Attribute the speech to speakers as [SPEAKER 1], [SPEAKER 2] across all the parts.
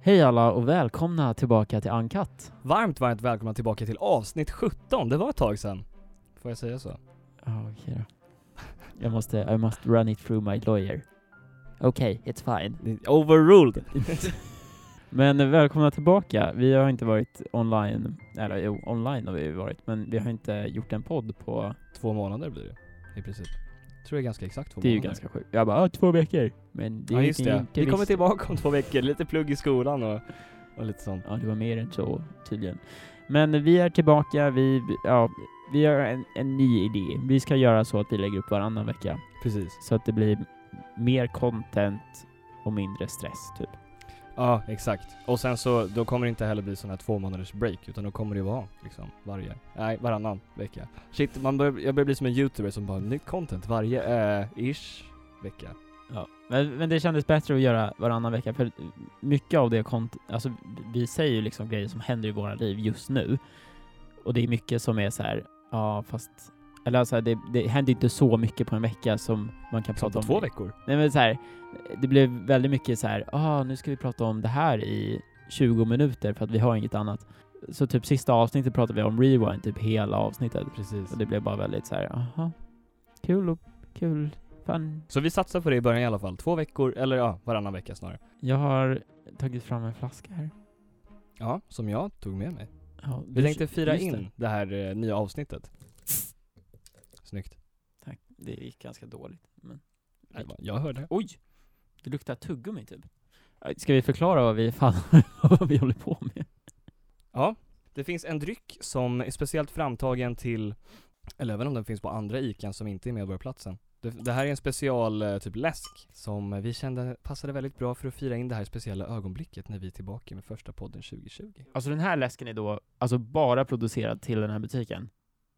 [SPEAKER 1] Hej alla och välkomna tillbaka till Uncut.
[SPEAKER 2] Varmt, varmt välkomna tillbaka till avsnitt 17. Det var ett tag sedan. Får jag säga så?
[SPEAKER 1] Ah, Okej då. Jag måste, I must run it through my lawyer. Okej, it's fine.
[SPEAKER 2] Overruled.
[SPEAKER 1] Men välkomna tillbaka. Vi har inte varit online, eller jo, online har vi ju varit, men vi har inte gjort en podd på,
[SPEAKER 2] Två månader blir det i princip. tror det är ganska exakt två
[SPEAKER 1] det är ju
[SPEAKER 2] månader.
[SPEAKER 1] ganska sjukt. Jag bara, ah, två veckor. Men det är
[SPEAKER 2] ja,
[SPEAKER 1] ju
[SPEAKER 2] just det.
[SPEAKER 1] inte
[SPEAKER 2] Vi kommer
[SPEAKER 1] visst.
[SPEAKER 2] tillbaka om två veckor. Lite plugg i skolan och, och lite sånt.
[SPEAKER 1] Ja, det var mer än så tydligen. Men vi är tillbaka, vi, ja, vi har en, en ny idé. Vi ska göra så att vi lägger upp varannan vecka.
[SPEAKER 2] Precis.
[SPEAKER 1] Så att det blir mer content och mindre stress, typ.
[SPEAKER 2] Ja, exakt. Och sen så, då kommer det inte heller bli sån här två månaders break, utan då kommer det vara liksom varje, nej varannan vecka. Shit, man bör, jag börjar bli som en youtuber som bara nytt content varje, eh, ish vecka.
[SPEAKER 1] Ja. Men, men det kändes bättre att göra varannan vecka, för mycket av det content, alltså vi säger ju liksom grejer som händer i våra liv just nu. Och det är mycket som är så här, ja fast, eller alltså det, det händer inte så mycket på en vecka som man kan
[SPEAKER 2] Som
[SPEAKER 1] prata
[SPEAKER 2] på
[SPEAKER 1] om.
[SPEAKER 2] två veckor.
[SPEAKER 1] Nej men så här, det blev väldigt mycket så här, ah, nu ska vi prata om det här i 20 minuter för att vi har inget annat. Så typ sista avsnittet pratade vi om rewind, typ hela avsnittet.
[SPEAKER 2] Precis.
[SPEAKER 1] Och det blev bara väldigt så här, aha, kul och kul, fan.
[SPEAKER 2] Så vi satsar på det i början i alla fall. Två veckor, eller ja, varannan vecka snarare.
[SPEAKER 1] Jag har tagit fram en flaska här.
[SPEAKER 2] Ja, som jag tog med mig.
[SPEAKER 1] Ja,
[SPEAKER 2] Vi
[SPEAKER 1] du-
[SPEAKER 2] tänkte fira
[SPEAKER 1] just
[SPEAKER 2] in
[SPEAKER 1] det.
[SPEAKER 2] det, här eh, nya avsnittet. Snyggt.
[SPEAKER 1] Tack. Det gick ganska dåligt. Men...
[SPEAKER 2] Nej, det var- Jag hörde.
[SPEAKER 1] Oj! Det luktar tuggummi typ. Ska vi förklara vad vi fan, vad vi håller på med?
[SPEAKER 2] Ja, det finns en dryck som är speciellt framtagen till, eller även om den finns på andra ICAn som inte är Medborgarplatsen. Det, det här är en special eh, typ läsk som vi kände passade väldigt bra för att fira in det här speciella ögonblicket när vi är tillbaka med första podden 2020.
[SPEAKER 1] Alltså den här läsken är då, alltså bara producerad till den här butiken.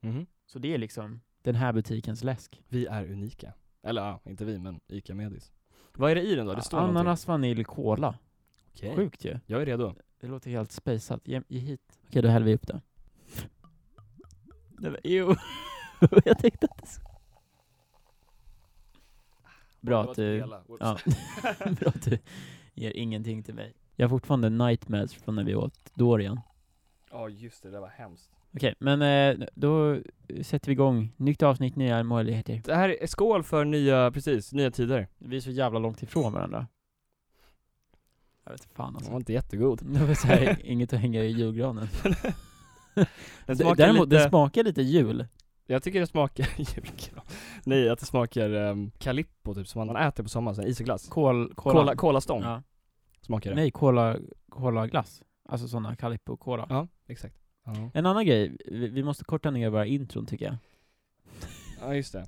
[SPEAKER 2] Mhm.
[SPEAKER 1] Så det är liksom den här butikens läsk.
[SPEAKER 2] Vi är unika. Eller ja, inte vi men ICA Medis. Vad är det i den då? Det står någonting.
[SPEAKER 1] Ananas, vanilj, cola.
[SPEAKER 2] Okej.
[SPEAKER 1] Sjukt ju.
[SPEAKER 2] Jag är redo.
[SPEAKER 1] Det låter helt spejsat. Ge, ge hit. Okej, då häller vi upp det. det var, jo. jag tänkte att det skulle... Bra att du... Ja. Bra att du ger ingenting till mig. Jag har fortfarande nightmares från när vi åt Dorian.
[SPEAKER 2] Ja just det, det var hemskt.
[SPEAKER 1] Okej, men eh, då sätter vi igång. Nytt avsnitt, nya möjligheter.
[SPEAKER 2] Det här är skål för nya, precis, nya tider.
[SPEAKER 1] Vi är så jävla långt ifrån varandra. Jag vet fan
[SPEAKER 2] Den
[SPEAKER 1] alltså.
[SPEAKER 2] var inte jättegod.
[SPEAKER 1] Det var så här, inget att hänga i julgranen.
[SPEAKER 2] Den
[SPEAKER 1] D-
[SPEAKER 2] smakar
[SPEAKER 1] Däremot,
[SPEAKER 2] lite,
[SPEAKER 1] det smakar lite jul.
[SPEAKER 2] jag tycker det smakar julgran. Nej, att det smakar um, Calippo typ som man äter på sommaren, sån här isglass.
[SPEAKER 1] Kol, kola.
[SPEAKER 2] Cola, colastång
[SPEAKER 1] ja.
[SPEAKER 2] smakar det.
[SPEAKER 1] Nej, cola, cola glass. Alltså sådana Calippo Cola.
[SPEAKER 2] Ja, exakt. Ja.
[SPEAKER 1] En annan grej, vi, vi måste korta ner våra intron tycker jag.
[SPEAKER 2] ja, just det.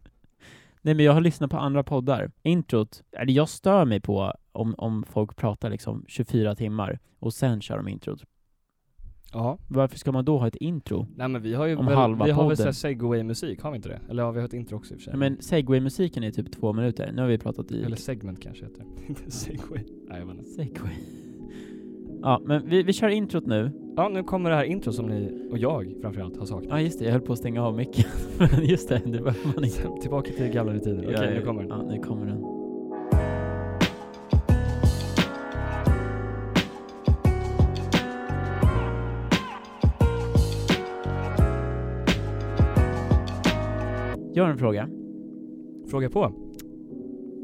[SPEAKER 1] Nej men jag har lyssnat på andra poddar. Introt, eller jag stör mig på om, om folk pratar liksom 24 timmar och sen kör de introt.
[SPEAKER 2] Ja,
[SPEAKER 1] Varför ska man då ha ett intro?
[SPEAKER 2] nej men vi har ju
[SPEAKER 1] Om
[SPEAKER 2] väl,
[SPEAKER 1] halva
[SPEAKER 2] vi har väl
[SPEAKER 1] podden.
[SPEAKER 2] såhär segway-musik, har vi inte det? Eller har vi ett intro också i och för sig?
[SPEAKER 1] Nej, men segway-musiken är typ två minuter, nu har vi pratat i...
[SPEAKER 2] Eller segment kanske heter det. Inte segway. Nej, jag vet inte.
[SPEAKER 1] Segway. Ja, men vi, vi kör introt nu.
[SPEAKER 2] Ja, nu kommer det här intro som ni, och jag framförallt, har saknat.
[SPEAKER 1] Ja just det, jag höll på att stänga av micken. Men just det, det behöver man inte.
[SPEAKER 2] Tillbaka till gamla rutiner. Okej,
[SPEAKER 1] Ja,
[SPEAKER 2] nu kommer den.
[SPEAKER 1] Ja, nu kommer den. Jag har en fråga.
[SPEAKER 2] Fråga på.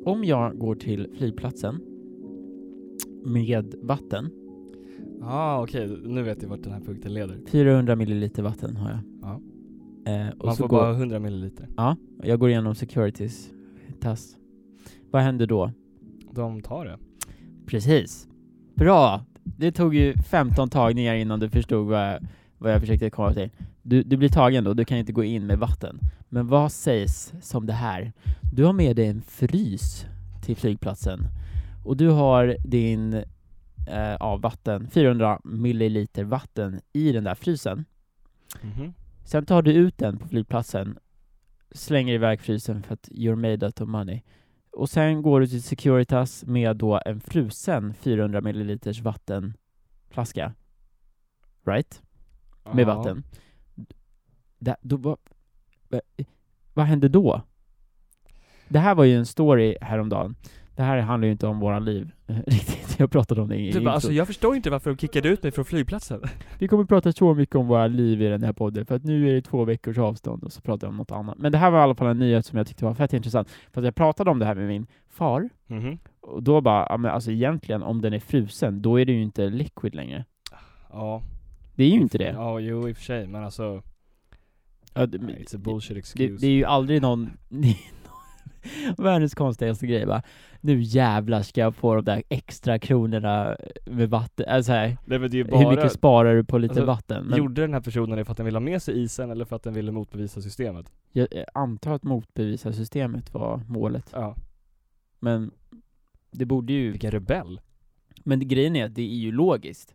[SPEAKER 1] Om jag går till flygplatsen med vatten,
[SPEAKER 2] Ja, okej. Nu vet jag vart den här punkten leder.
[SPEAKER 1] 400 milliliter vatten har jag.
[SPEAKER 2] Ja.
[SPEAKER 1] Eh, och
[SPEAKER 2] Man
[SPEAKER 1] så
[SPEAKER 2] får
[SPEAKER 1] går,
[SPEAKER 2] bara 100 milliliter.
[SPEAKER 1] Ja, jag går igenom securities task. Vad händer då?
[SPEAKER 2] De tar det.
[SPEAKER 1] Precis. Bra! Det tog ju 15 tagningar innan du förstod vad jag, vad jag försökte komma till. Du, du blir tagen då, du kan inte gå in med vatten. Men vad sägs som det här? Du har med dig en frys till flygplatsen och du har din eh, ja, vatten, 400 milliliter vatten i den där frysen.
[SPEAKER 2] Mhm.
[SPEAKER 1] Sen tar du ut den på flygplatsen, slänger iväg frysen för att you're made out of money. Och sen går du till Securitas med då en frusen 400 milliliters vattenflaska. Right? Med vatten. Där, då, vad, vad hände då? Det här var ju en story häromdagen det här handlar ju inte om våra liv eh, riktigt. Jag pratade om det i
[SPEAKER 2] Du bara,
[SPEAKER 1] introt.
[SPEAKER 2] alltså jag förstår inte varför de kickade ut mig från flygplatsen.
[SPEAKER 1] Vi kommer prata så mycket om våra liv i den här podden, för att nu är det två veckors avstånd och så pratar jag om något annat. Men det här var i alla fall en nyhet som jag tyckte var fett intressant, för att jag pratade om det här med min far,
[SPEAKER 2] Mhm.
[SPEAKER 1] och då bara, ja, men alltså egentligen om den är frusen, då är det ju inte liquid längre.
[SPEAKER 2] Ja,
[SPEAKER 1] Det är ju inte det.
[SPEAKER 2] ja jo i och för sig men alltså,
[SPEAKER 1] Ja, det,
[SPEAKER 2] it's a bullshit excuse.
[SPEAKER 1] det, det är ju aldrig någon... Världens konstigaste grej bara, nu jävlar ska jag få de där extra kronorna med vatten, alltså här,
[SPEAKER 2] Nej men det är ju
[SPEAKER 1] hur
[SPEAKER 2] bara,
[SPEAKER 1] mycket sparar du på lite
[SPEAKER 2] alltså,
[SPEAKER 1] vatten? Men
[SPEAKER 2] gjorde den här personen det för att den ville ha med sig isen eller för att den ville motbevisa systemet?
[SPEAKER 1] jag antar att motbevisa systemet var målet.
[SPEAKER 2] Ja.
[SPEAKER 1] Men det borde ju...
[SPEAKER 2] Vilken rebell.
[SPEAKER 1] Men grejen är att det är ju logiskt.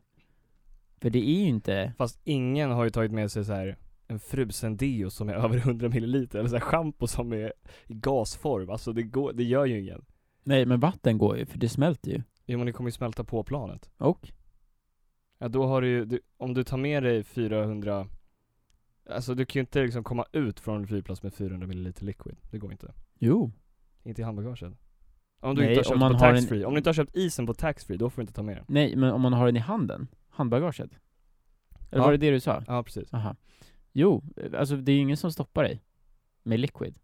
[SPEAKER 1] För det är ju inte...
[SPEAKER 2] Fast ingen har ju tagit med sig så här en frusen deo som är över 100 milliliter eller så här shampoo som är i gasform. Alltså det, går, det gör ju ingen.
[SPEAKER 1] Nej, men vatten går ju, för det smälter ju.
[SPEAKER 2] Jo men det kommer ju smälta på planet.
[SPEAKER 1] Och?
[SPEAKER 2] Ja då har du ju, du, om du tar med dig 400 Alltså du kan ju inte liksom komma ut från en flygplats med 400 milliliter liquid. Det går inte.
[SPEAKER 1] Jo.
[SPEAKER 2] Inte i handbagaget. Om du
[SPEAKER 1] Nej,
[SPEAKER 2] inte har köpt
[SPEAKER 1] om man
[SPEAKER 2] på
[SPEAKER 1] har en-
[SPEAKER 2] taxfree. Om du inte har köpt isen på taxfree, då får du inte ta med den.
[SPEAKER 1] Nej, men om man har den i handen. Handbagaget. Eller
[SPEAKER 2] Ja.
[SPEAKER 1] var det det du sa?
[SPEAKER 2] Ja precis.
[SPEAKER 1] Aha. Jo, alltså det är ju ingen som stoppar dig. Med liquid.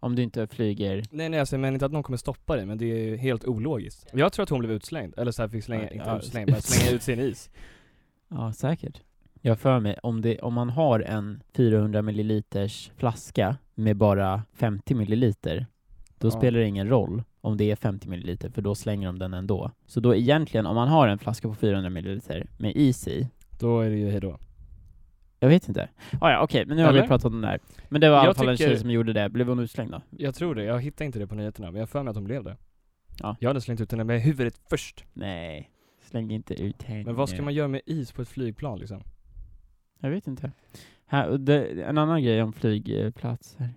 [SPEAKER 1] Om du inte flyger...
[SPEAKER 2] Nej nej alltså jag menar inte att någon kommer stoppa dig men det är ju helt ologiskt. Jag tror att hon blev utslängd, eller så här fick slänga,
[SPEAKER 1] Ja,
[SPEAKER 2] inte
[SPEAKER 1] ja,
[SPEAKER 2] utslängd, men slänga ut sin is.
[SPEAKER 1] Ja, säkert. Jag har för mig, om, det, om man har en 400 milliliters flaska med bara 50 milliliter, då
[SPEAKER 2] Ja.
[SPEAKER 1] spelar det ingen roll om det är 50 milliliter, för då slänger de den ändå. Så då egentligen, om man har en flaska på 400 milliliter med is i,
[SPEAKER 2] Då är det ju hejdå.
[SPEAKER 1] jag vet inte. Ah, ja, okej, men nu har vi
[SPEAKER 2] Eller?
[SPEAKER 1] pratat om det här. Men det var i alla
[SPEAKER 2] Jag
[SPEAKER 1] fall en
[SPEAKER 2] tycker-
[SPEAKER 1] tjej som gjorde det. Blev hon utslängd då?
[SPEAKER 2] Jag tror det, jag hittar inte det på nyheterna men jag har för mig att hon blev det.
[SPEAKER 1] Ja.
[SPEAKER 2] Jag hade slängt ut henne med huvudet först.
[SPEAKER 1] Nej, släng inte ut henne.
[SPEAKER 2] Men vad ska man göra med is på ett flygplan liksom?
[SPEAKER 1] Jag vet inte. Här, och det, en annan grej om flygplatser.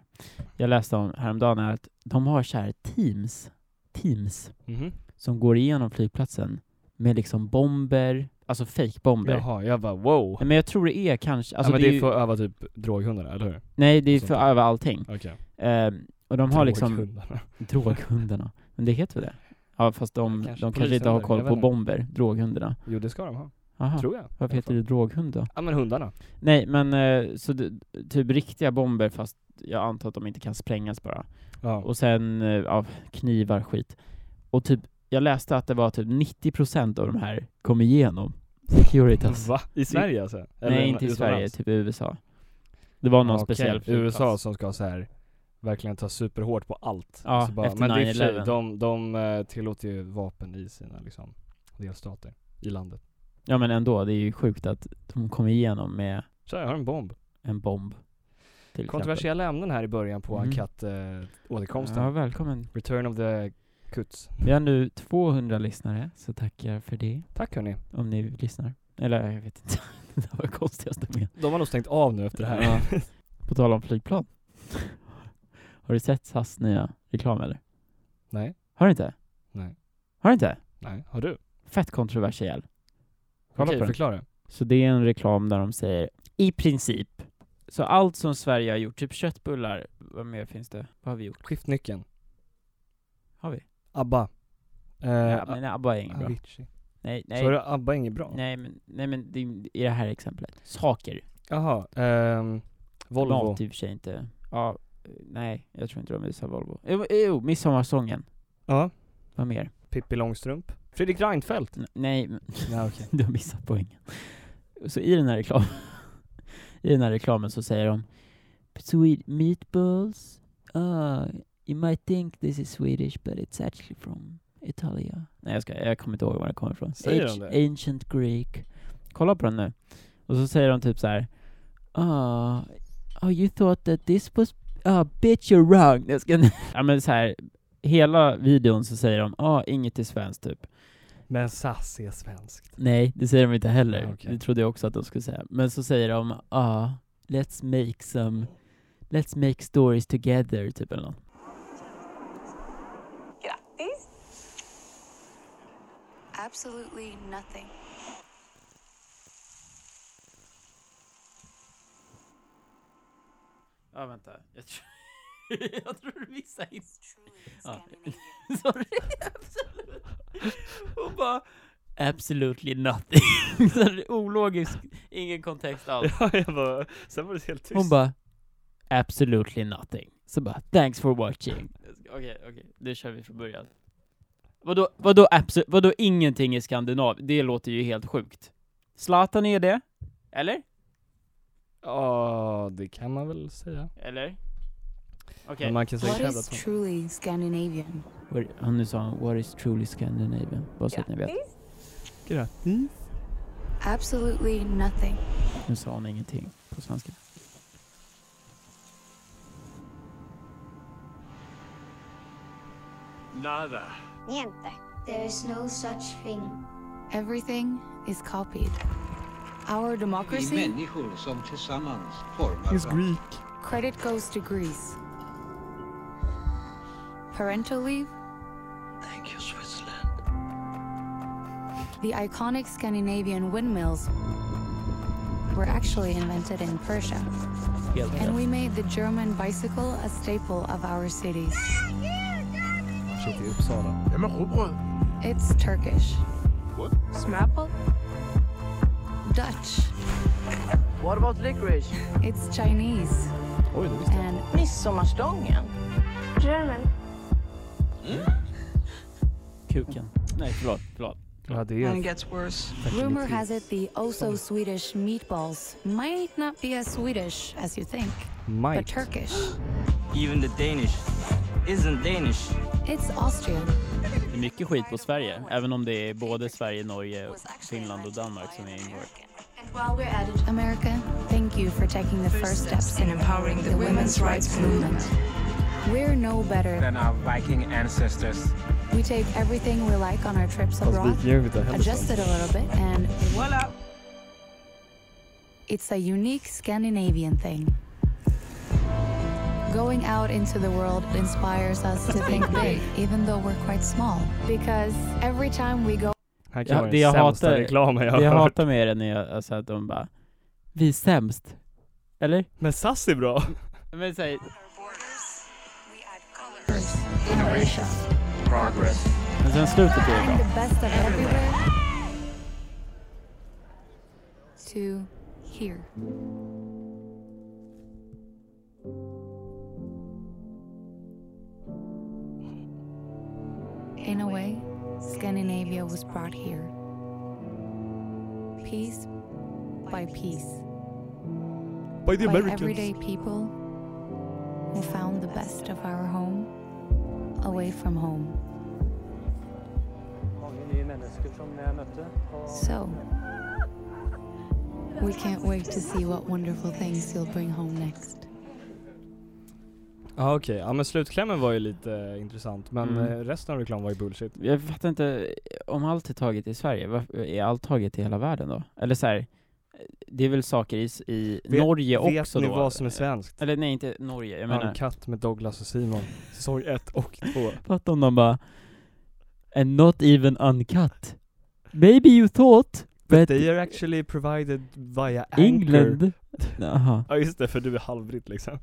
[SPEAKER 1] Jag läste om häromdagen är att de har så här teams, teams
[SPEAKER 2] Mhm.
[SPEAKER 1] som går igenom flygplatsen med liksom bomber, alltså fejkbomber.
[SPEAKER 2] Jaha, jag bara wow.
[SPEAKER 1] Nej, Men jag tror det är kanske, alltså
[SPEAKER 2] ja, men
[SPEAKER 1] det är ju,
[SPEAKER 2] för att öva typ droghundarna, eller hur?
[SPEAKER 1] nej det är
[SPEAKER 2] sånt
[SPEAKER 1] för
[SPEAKER 2] där.
[SPEAKER 1] över allting.
[SPEAKER 2] Okej.
[SPEAKER 1] Ehm, och de har liksom
[SPEAKER 2] Droghundarna.
[SPEAKER 1] droghundarna, men det heter väl det? Ja fast de
[SPEAKER 2] Ja,
[SPEAKER 1] kanske,
[SPEAKER 2] kanske.
[SPEAKER 1] de kanske inte har
[SPEAKER 2] Polishundar,
[SPEAKER 1] koll
[SPEAKER 2] jag
[SPEAKER 1] på
[SPEAKER 2] vet inte.
[SPEAKER 1] bomber, droghundarna.
[SPEAKER 2] Jo det ska de ha,
[SPEAKER 1] Aha.
[SPEAKER 2] tror jag.
[SPEAKER 1] Varför heter det droghund då?
[SPEAKER 2] Ja men hundarna.
[SPEAKER 1] Nej men eh, så det, typ riktiga bomber fast jag antar att de inte kan sprängas bara.
[SPEAKER 2] Ja.
[SPEAKER 1] Och sen eh, ja, knivar skit. Och typ, jag läste att det var typ 90% av de här kom igenom Securitas.
[SPEAKER 2] Va? I Sverige alltså?
[SPEAKER 1] Nej, inte i Sverige, typ i USA. Det var någon
[SPEAKER 2] Okej,
[SPEAKER 1] speciell flygplats.
[SPEAKER 2] USA som ska så här verkligen ta superhårt på allt.
[SPEAKER 1] Ja,
[SPEAKER 2] Så Alltså bara,
[SPEAKER 1] efter
[SPEAKER 2] men det är i och för sig,
[SPEAKER 1] 9/11.
[SPEAKER 2] de, de eh, tillåter ju vapen i sina liksom, delstater i landet.
[SPEAKER 1] Ja men ändå, det är ju sjukt att de kom igenom med
[SPEAKER 2] Så här, jag har en bomb.
[SPEAKER 1] en bomb. Till exempel.
[SPEAKER 2] Kontroversiella ämnen här i början på
[SPEAKER 1] Mm.
[SPEAKER 2] Ankat-återkomsten.
[SPEAKER 1] Ja, välkommen.
[SPEAKER 2] Return of the Kuts.
[SPEAKER 1] Vi har nu 200 lyssnare, så tackar för det.
[SPEAKER 2] Tack hörni.
[SPEAKER 1] Om ni lyssnar. Eller jag vet inte. det var det konstigaste med.
[SPEAKER 2] De har nog stängt av nu efter det här.
[SPEAKER 1] Ja. På tal om flygplan. Har du sett SAS nya reklam eller?
[SPEAKER 2] Nej,
[SPEAKER 1] Har du inte?
[SPEAKER 2] Nej.
[SPEAKER 1] Har du inte?
[SPEAKER 2] nej, har du?
[SPEAKER 1] Fett kontroversiell. Kolla
[SPEAKER 2] Okej,
[SPEAKER 1] på den.
[SPEAKER 2] förklara.
[SPEAKER 1] Så det är en reklam där de säger i princip. Så allt som Sverige har gjort, typ köttbullar, vad mer finns det? Vad har vi gjort?
[SPEAKER 2] Skiftnyckeln.
[SPEAKER 1] Har vi?
[SPEAKER 2] ABBA. Eh,
[SPEAKER 1] ja, men ABBA är inget bra.
[SPEAKER 2] Avicii.
[SPEAKER 1] Nej,
[SPEAKER 2] Så är
[SPEAKER 1] nej.
[SPEAKER 2] det ABBA inget bra?
[SPEAKER 1] Nej men, nej men det, i det här exemplet. Saker.
[SPEAKER 2] Jaha, ehm, Volvo.
[SPEAKER 1] Mat typ i och för sig inte. Ja, eh, nej, jag tror inte de visar Volvo. Jo, jo midsommarsången.
[SPEAKER 2] Ja.
[SPEAKER 1] Vad mer?
[SPEAKER 2] Pippi Långstrump. Fredrik Reinfeldt.
[SPEAKER 1] N- nej, men-
[SPEAKER 2] Ja, okej.
[SPEAKER 1] Du har missat poängen. Så i den här reklamen, i den här reklamen så säger de Sweet meatballs, ah, you might think this is Swedish but it's actually from Italia. Nej jag ska, jag kommer inte ihåg var det kommer ifrån.
[SPEAKER 2] Säger de
[SPEAKER 1] Anci-
[SPEAKER 2] det?
[SPEAKER 1] Ancient Greek. Kolla på den nu. Och så säger de typ så här. Ah, oh, you thought that this was, ah bitch you're wrong. Jag ska, ja men så här, hela videon så säger de ah inget är svenskt typ.
[SPEAKER 2] Men SAS är svenskt.
[SPEAKER 1] Nej, det säger de inte heller.
[SPEAKER 2] Ah, okej.
[SPEAKER 1] Det trodde jag också att de skulle säga. Men så säger de, ja, ah, let's make some, let's make stories together, typ eller något.
[SPEAKER 3] Grattis! Absolutely nothing.
[SPEAKER 1] Ja, vänta. Jag tror... jag tror du missade in.
[SPEAKER 3] It's truly
[SPEAKER 1] Ah.
[SPEAKER 3] Scandinavian.
[SPEAKER 1] Sorry. Absolut. Och bara Absolutely nothing. Så här, Ologisk, ingen kontext alls.
[SPEAKER 2] Ja, jag bara, sen var det helt tyst.
[SPEAKER 1] Hon bara Absolutely nothing. Så bara thanks for watching. Okej, okej, nu kör vi från början. Vadå, vadå, abso- vadå ingenting i Skandinavien? Det låter ju helt sjukt. Zlatan är det? Eller?
[SPEAKER 2] Ja, det kan man väl säga.
[SPEAKER 1] Eller? Okej.
[SPEAKER 2] Men man kan
[SPEAKER 3] What
[SPEAKER 2] säkert hävda
[SPEAKER 3] is
[SPEAKER 2] att hon...
[SPEAKER 3] truly Scandinavian?
[SPEAKER 1] What- Han nu sa han, what is truly Scandinavian? Bara så att ni vet.
[SPEAKER 2] Grattis.
[SPEAKER 3] Absolutely nothing.
[SPEAKER 1] Nu sa hon ingenting på svenska.
[SPEAKER 4] There is no such thing.
[SPEAKER 3] Everything is copied. Our
[SPEAKER 5] Vi
[SPEAKER 3] democracy?
[SPEAKER 5] människor som tillsammans formar varandra.
[SPEAKER 2] Greek.
[SPEAKER 3] Credit goes to Greece. Parental leave?
[SPEAKER 5] Thank you, Switzerland.
[SPEAKER 3] The iconic Scandinavian windmills were actually invented in Persia.
[SPEAKER 1] Helt
[SPEAKER 3] And we made the German bicycle a staple of our cities.
[SPEAKER 2] Shit, i Uppsala.
[SPEAKER 3] It's Turkish. What? Smapple? Dutch.
[SPEAKER 6] What about licorice? Oh,
[SPEAKER 3] It's Chinese.
[SPEAKER 2] Oj, det visste jag.
[SPEAKER 3] And
[SPEAKER 6] Midsommarstången?
[SPEAKER 4] German.
[SPEAKER 1] Kuken. Nej, förlåt, förlåt.
[SPEAKER 2] Ja, det
[SPEAKER 7] And it
[SPEAKER 2] är
[SPEAKER 7] gets worse.
[SPEAKER 3] rumor has it the oh so Swedish meatballs might not be as Swedish as you think, but
[SPEAKER 2] Mike.
[SPEAKER 3] Turkish.
[SPEAKER 8] Even the Danish isn't Danish.
[SPEAKER 3] It's Austrian.
[SPEAKER 1] Det är mycket skit på Sverige, även om det är både Sverige, Norge, Finland och Danmark som är ingår.
[SPEAKER 4] And while we're at it,
[SPEAKER 3] America, thank you for taking the first steps
[SPEAKER 7] in empowering the women's rights movement.
[SPEAKER 3] We're no better.
[SPEAKER 9] than our Viking ancestors.
[SPEAKER 3] We take everything we like on our trips abroad,
[SPEAKER 2] Fast vi gör inte heller
[SPEAKER 3] adjust
[SPEAKER 2] så.
[SPEAKER 3] it a little bit, and
[SPEAKER 6] Voila!
[SPEAKER 3] It's a unique Scandinavian thing. Going out into the world inspires us to think big, even though we're quite small. Because every time we go
[SPEAKER 1] Ja,
[SPEAKER 2] Han kan vara
[SPEAKER 1] det jag
[SPEAKER 2] den sämsta
[SPEAKER 1] hatar-
[SPEAKER 2] reklamen jag
[SPEAKER 1] Det jag
[SPEAKER 2] har hört.
[SPEAKER 1] hatar med den är alltså att de bara Vi är sämst. Eller?
[SPEAKER 2] Men SAS är bra.
[SPEAKER 1] Men säg,
[SPEAKER 3] Croatia,
[SPEAKER 1] men sen slutet är
[SPEAKER 3] find
[SPEAKER 1] bra.
[SPEAKER 3] the best of everywhere to here. In a way, Scandinavia was brought here. Piece by piece.
[SPEAKER 2] By
[SPEAKER 3] by everyday people who found the best of our home away from home. So, we can't wait to see what wonderful things you'll bring home next.
[SPEAKER 2] Ja, Ah, okej. Ja, men slutklämmen var ju lite eh, intressant. Men
[SPEAKER 1] Mm.
[SPEAKER 2] eh, resten av reklamen var ju bullshit.
[SPEAKER 1] Jag fattar inte, om allt är taget i Sverige, varför är allt taget i hela världen då? Eller så här, det är väl saker i, s- i
[SPEAKER 2] Vet-
[SPEAKER 1] Norge
[SPEAKER 2] Vet
[SPEAKER 1] också
[SPEAKER 2] ni
[SPEAKER 1] då?
[SPEAKER 2] vad som är svenskt?
[SPEAKER 1] Eller nej, inte Norge, jag menar
[SPEAKER 2] Uncut med Douglas och Simon. Säsong 1 och 2.
[SPEAKER 1] Fatta om de bara And not even uncut Maybe you thought But,
[SPEAKER 2] They are actually provided via Anchor.
[SPEAKER 1] England Jaha,
[SPEAKER 2] Ja just det, för du är halvbritt liksom.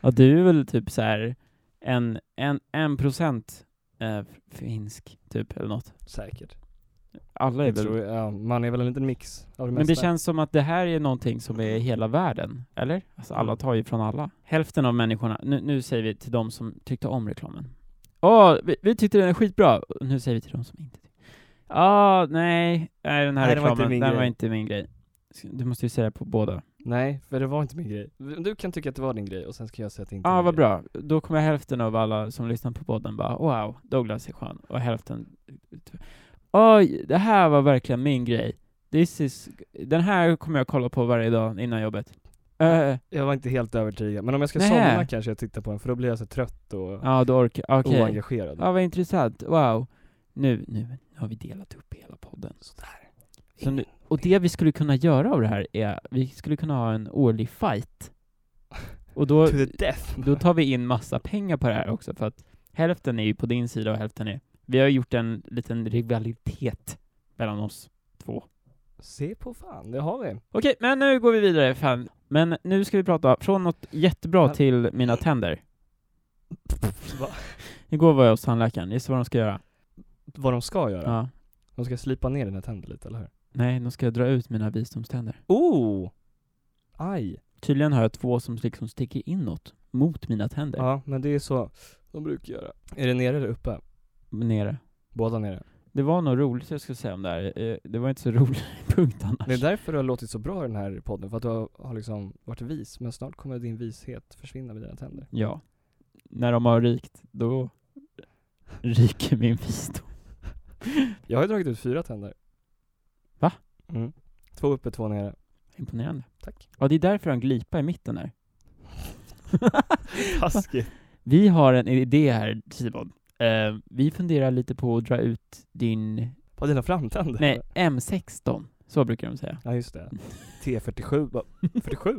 [SPEAKER 1] ja du är väl typ så här en, en, en procent eh, finsk typ eller något
[SPEAKER 2] Säkert.
[SPEAKER 1] Alla är
[SPEAKER 2] Jag
[SPEAKER 1] väl
[SPEAKER 2] tror, ja, man är väl en liten mix av det
[SPEAKER 1] Men det
[SPEAKER 2] mesta.
[SPEAKER 1] känns som att det här är någonting som är hela världen, eller? Alltså
[SPEAKER 2] Mm.
[SPEAKER 1] alla tar ju från alla. Hälften av människorna, nu, nu säger vi till de som tyckte om reklamen. Åh, vi, vi tyckte den är skitbra! Och Nu säger vi till de som inte tyckte. Ja, nej, nej, den här
[SPEAKER 2] Nej, det var inte
[SPEAKER 1] reklamen, den
[SPEAKER 2] min
[SPEAKER 1] var
[SPEAKER 2] grej.
[SPEAKER 1] inte min grej. Ska- Du måste ju säga på båda.
[SPEAKER 2] Nej, för det var inte min grej. Du kan tycka att det var din grej och sen ska jag säga att det inte
[SPEAKER 1] Ja,
[SPEAKER 2] är
[SPEAKER 1] ah,
[SPEAKER 2] min
[SPEAKER 1] vad
[SPEAKER 2] grej.
[SPEAKER 1] bra. Då kommer hälften av alla som lyssnar på podden bara wow, Douglas är skön. Och hälften... Oj, det här var verkligen min grej. This is... Den här kommer jag kolla på varje dag innan jobbet. Eh,
[SPEAKER 2] Jag var inte helt övertygad. Men om jag ska
[SPEAKER 1] Nej.
[SPEAKER 2] somna kanske jag tittar på den för då blir jag så trött och
[SPEAKER 1] Ja, då orkar Okej.
[SPEAKER 2] oengagerad.
[SPEAKER 1] Ja, vad intressant. Wow. Nu, nu, nu har vi delat upp hela podden. Sådär. Så nu, och det vi skulle kunna göra av det här är, vi skulle kunna ha en årlig fight. Och då,
[SPEAKER 2] To the death.
[SPEAKER 1] då tar vi in massa pengar på det här också, för att hälften är ju på din sida och hälften är... Vi har gjort en liten rivalitet mellan oss två.
[SPEAKER 2] Se på fan, det har vi.
[SPEAKER 1] Okej, men nu går vi vidare. Fan. Men nu ska vi prata från något jättebra till mina tänder.
[SPEAKER 2] Va?
[SPEAKER 1] Igår var jag hos tandläkaren, gissa vad de ska göra?
[SPEAKER 2] Vad de ska göra?
[SPEAKER 1] Ja.
[SPEAKER 2] De ska slipa ner dina tänder lite, eller hur?
[SPEAKER 1] Nej, de ska dra ut mina visdomständer.
[SPEAKER 2] Oh! Aj!
[SPEAKER 1] Tydligen har jag två som liksom sticker inåt, mot mina tänder.
[SPEAKER 2] Ja, men det är så de brukar göra. Är det nere eller uppe?
[SPEAKER 1] Nere.
[SPEAKER 2] Båda nere.
[SPEAKER 1] Det var något roligt jag skulle säga om det här, Eh, det var inte så rolig punkt annars.
[SPEAKER 2] Det är därför du har låtit så bra i den här podden, för att du har, har liksom varit vis, men snart kommer din vishet försvinna med dina tänder.
[SPEAKER 1] Ja. När de har rikt, då ryker min visdom.
[SPEAKER 2] Jag har ju dragit ut fyra tänder.
[SPEAKER 1] Va?
[SPEAKER 2] Mm. Två uppe, två nere.
[SPEAKER 1] Imponerande.
[SPEAKER 2] Tack.
[SPEAKER 1] Ja, det är därför jag har en glipa i mitten där.
[SPEAKER 2] Taskigt.
[SPEAKER 1] Vi har en idé här, Simon. Eh, vi funderar lite på att dra ut din...
[SPEAKER 2] På dina framtänder?
[SPEAKER 1] Nej, M16. Så brukar de säga.
[SPEAKER 2] Ja, just det. T47. bara, 47?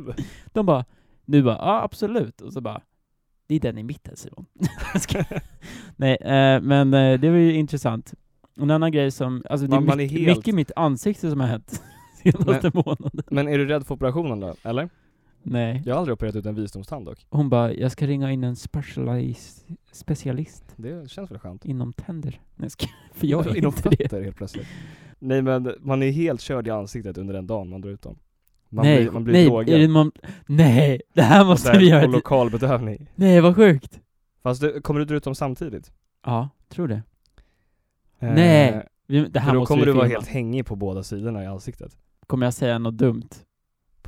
[SPEAKER 1] De bara, du bara, ja absolut. Och så bara, det är den i mitten Simon. Jag skojar. Nej, eh, men eh, det var ju intressant. En annan grej som, alltså det är
[SPEAKER 2] Man- man är
[SPEAKER 1] mycket,
[SPEAKER 2] helt-
[SPEAKER 1] mycket i mitt ansikte som har hänt senaste månaden.
[SPEAKER 2] Men är du rädd för operationen då, eller?
[SPEAKER 1] Nej.
[SPEAKER 2] Jag har aldrig opererat ut en visdomstand dock.
[SPEAKER 1] Hon bara, jag ska ringa in en specialist, specialist
[SPEAKER 2] Det känns väl skönt?
[SPEAKER 1] inom tänder. Nej, jag skojar. för jag är
[SPEAKER 2] Inom
[SPEAKER 1] inte det.
[SPEAKER 2] fötter helt plötsligt. Nej men man är helt körd i ansiktet under den dagen man drar ut dem. Man
[SPEAKER 1] nej,
[SPEAKER 2] blir, man blir
[SPEAKER 1] nej,
[SPEAKER 2] drogad.
[SPEAKER 1] är det man, nej, det här
[SPEAKER 2] Så
[SPEAKER 1] måste
[SPEAKER 2] här,
[SPEAKER 1] vi göra.
[SPEAKER 2] och
[SPEAKER 1] till-
[SPEAKER 2] lokal bedövning.
[SPEAKER 1] Nej, vad sjukt.
[SPEAKER 2] Fast du, kommer du dra ut dem samtidigt?
[SPEAKER 1] Ja, tror det.
[SPEAKER 2] Eh,
[SPEAKER 1] Nej, Vi, det här
[SPEAKER 2] för då
[SPEAKER 1] måste
[SPEAKER 2] kommer
[SPEAKER 1] vi
[SPEAKER 2] du vara
[SPEAKER 1] filma.
[SPEAKER 2] helt hängig på båda sidorna i ansiktet.
[SPEAKER 1] Kommer jag säga något dumt?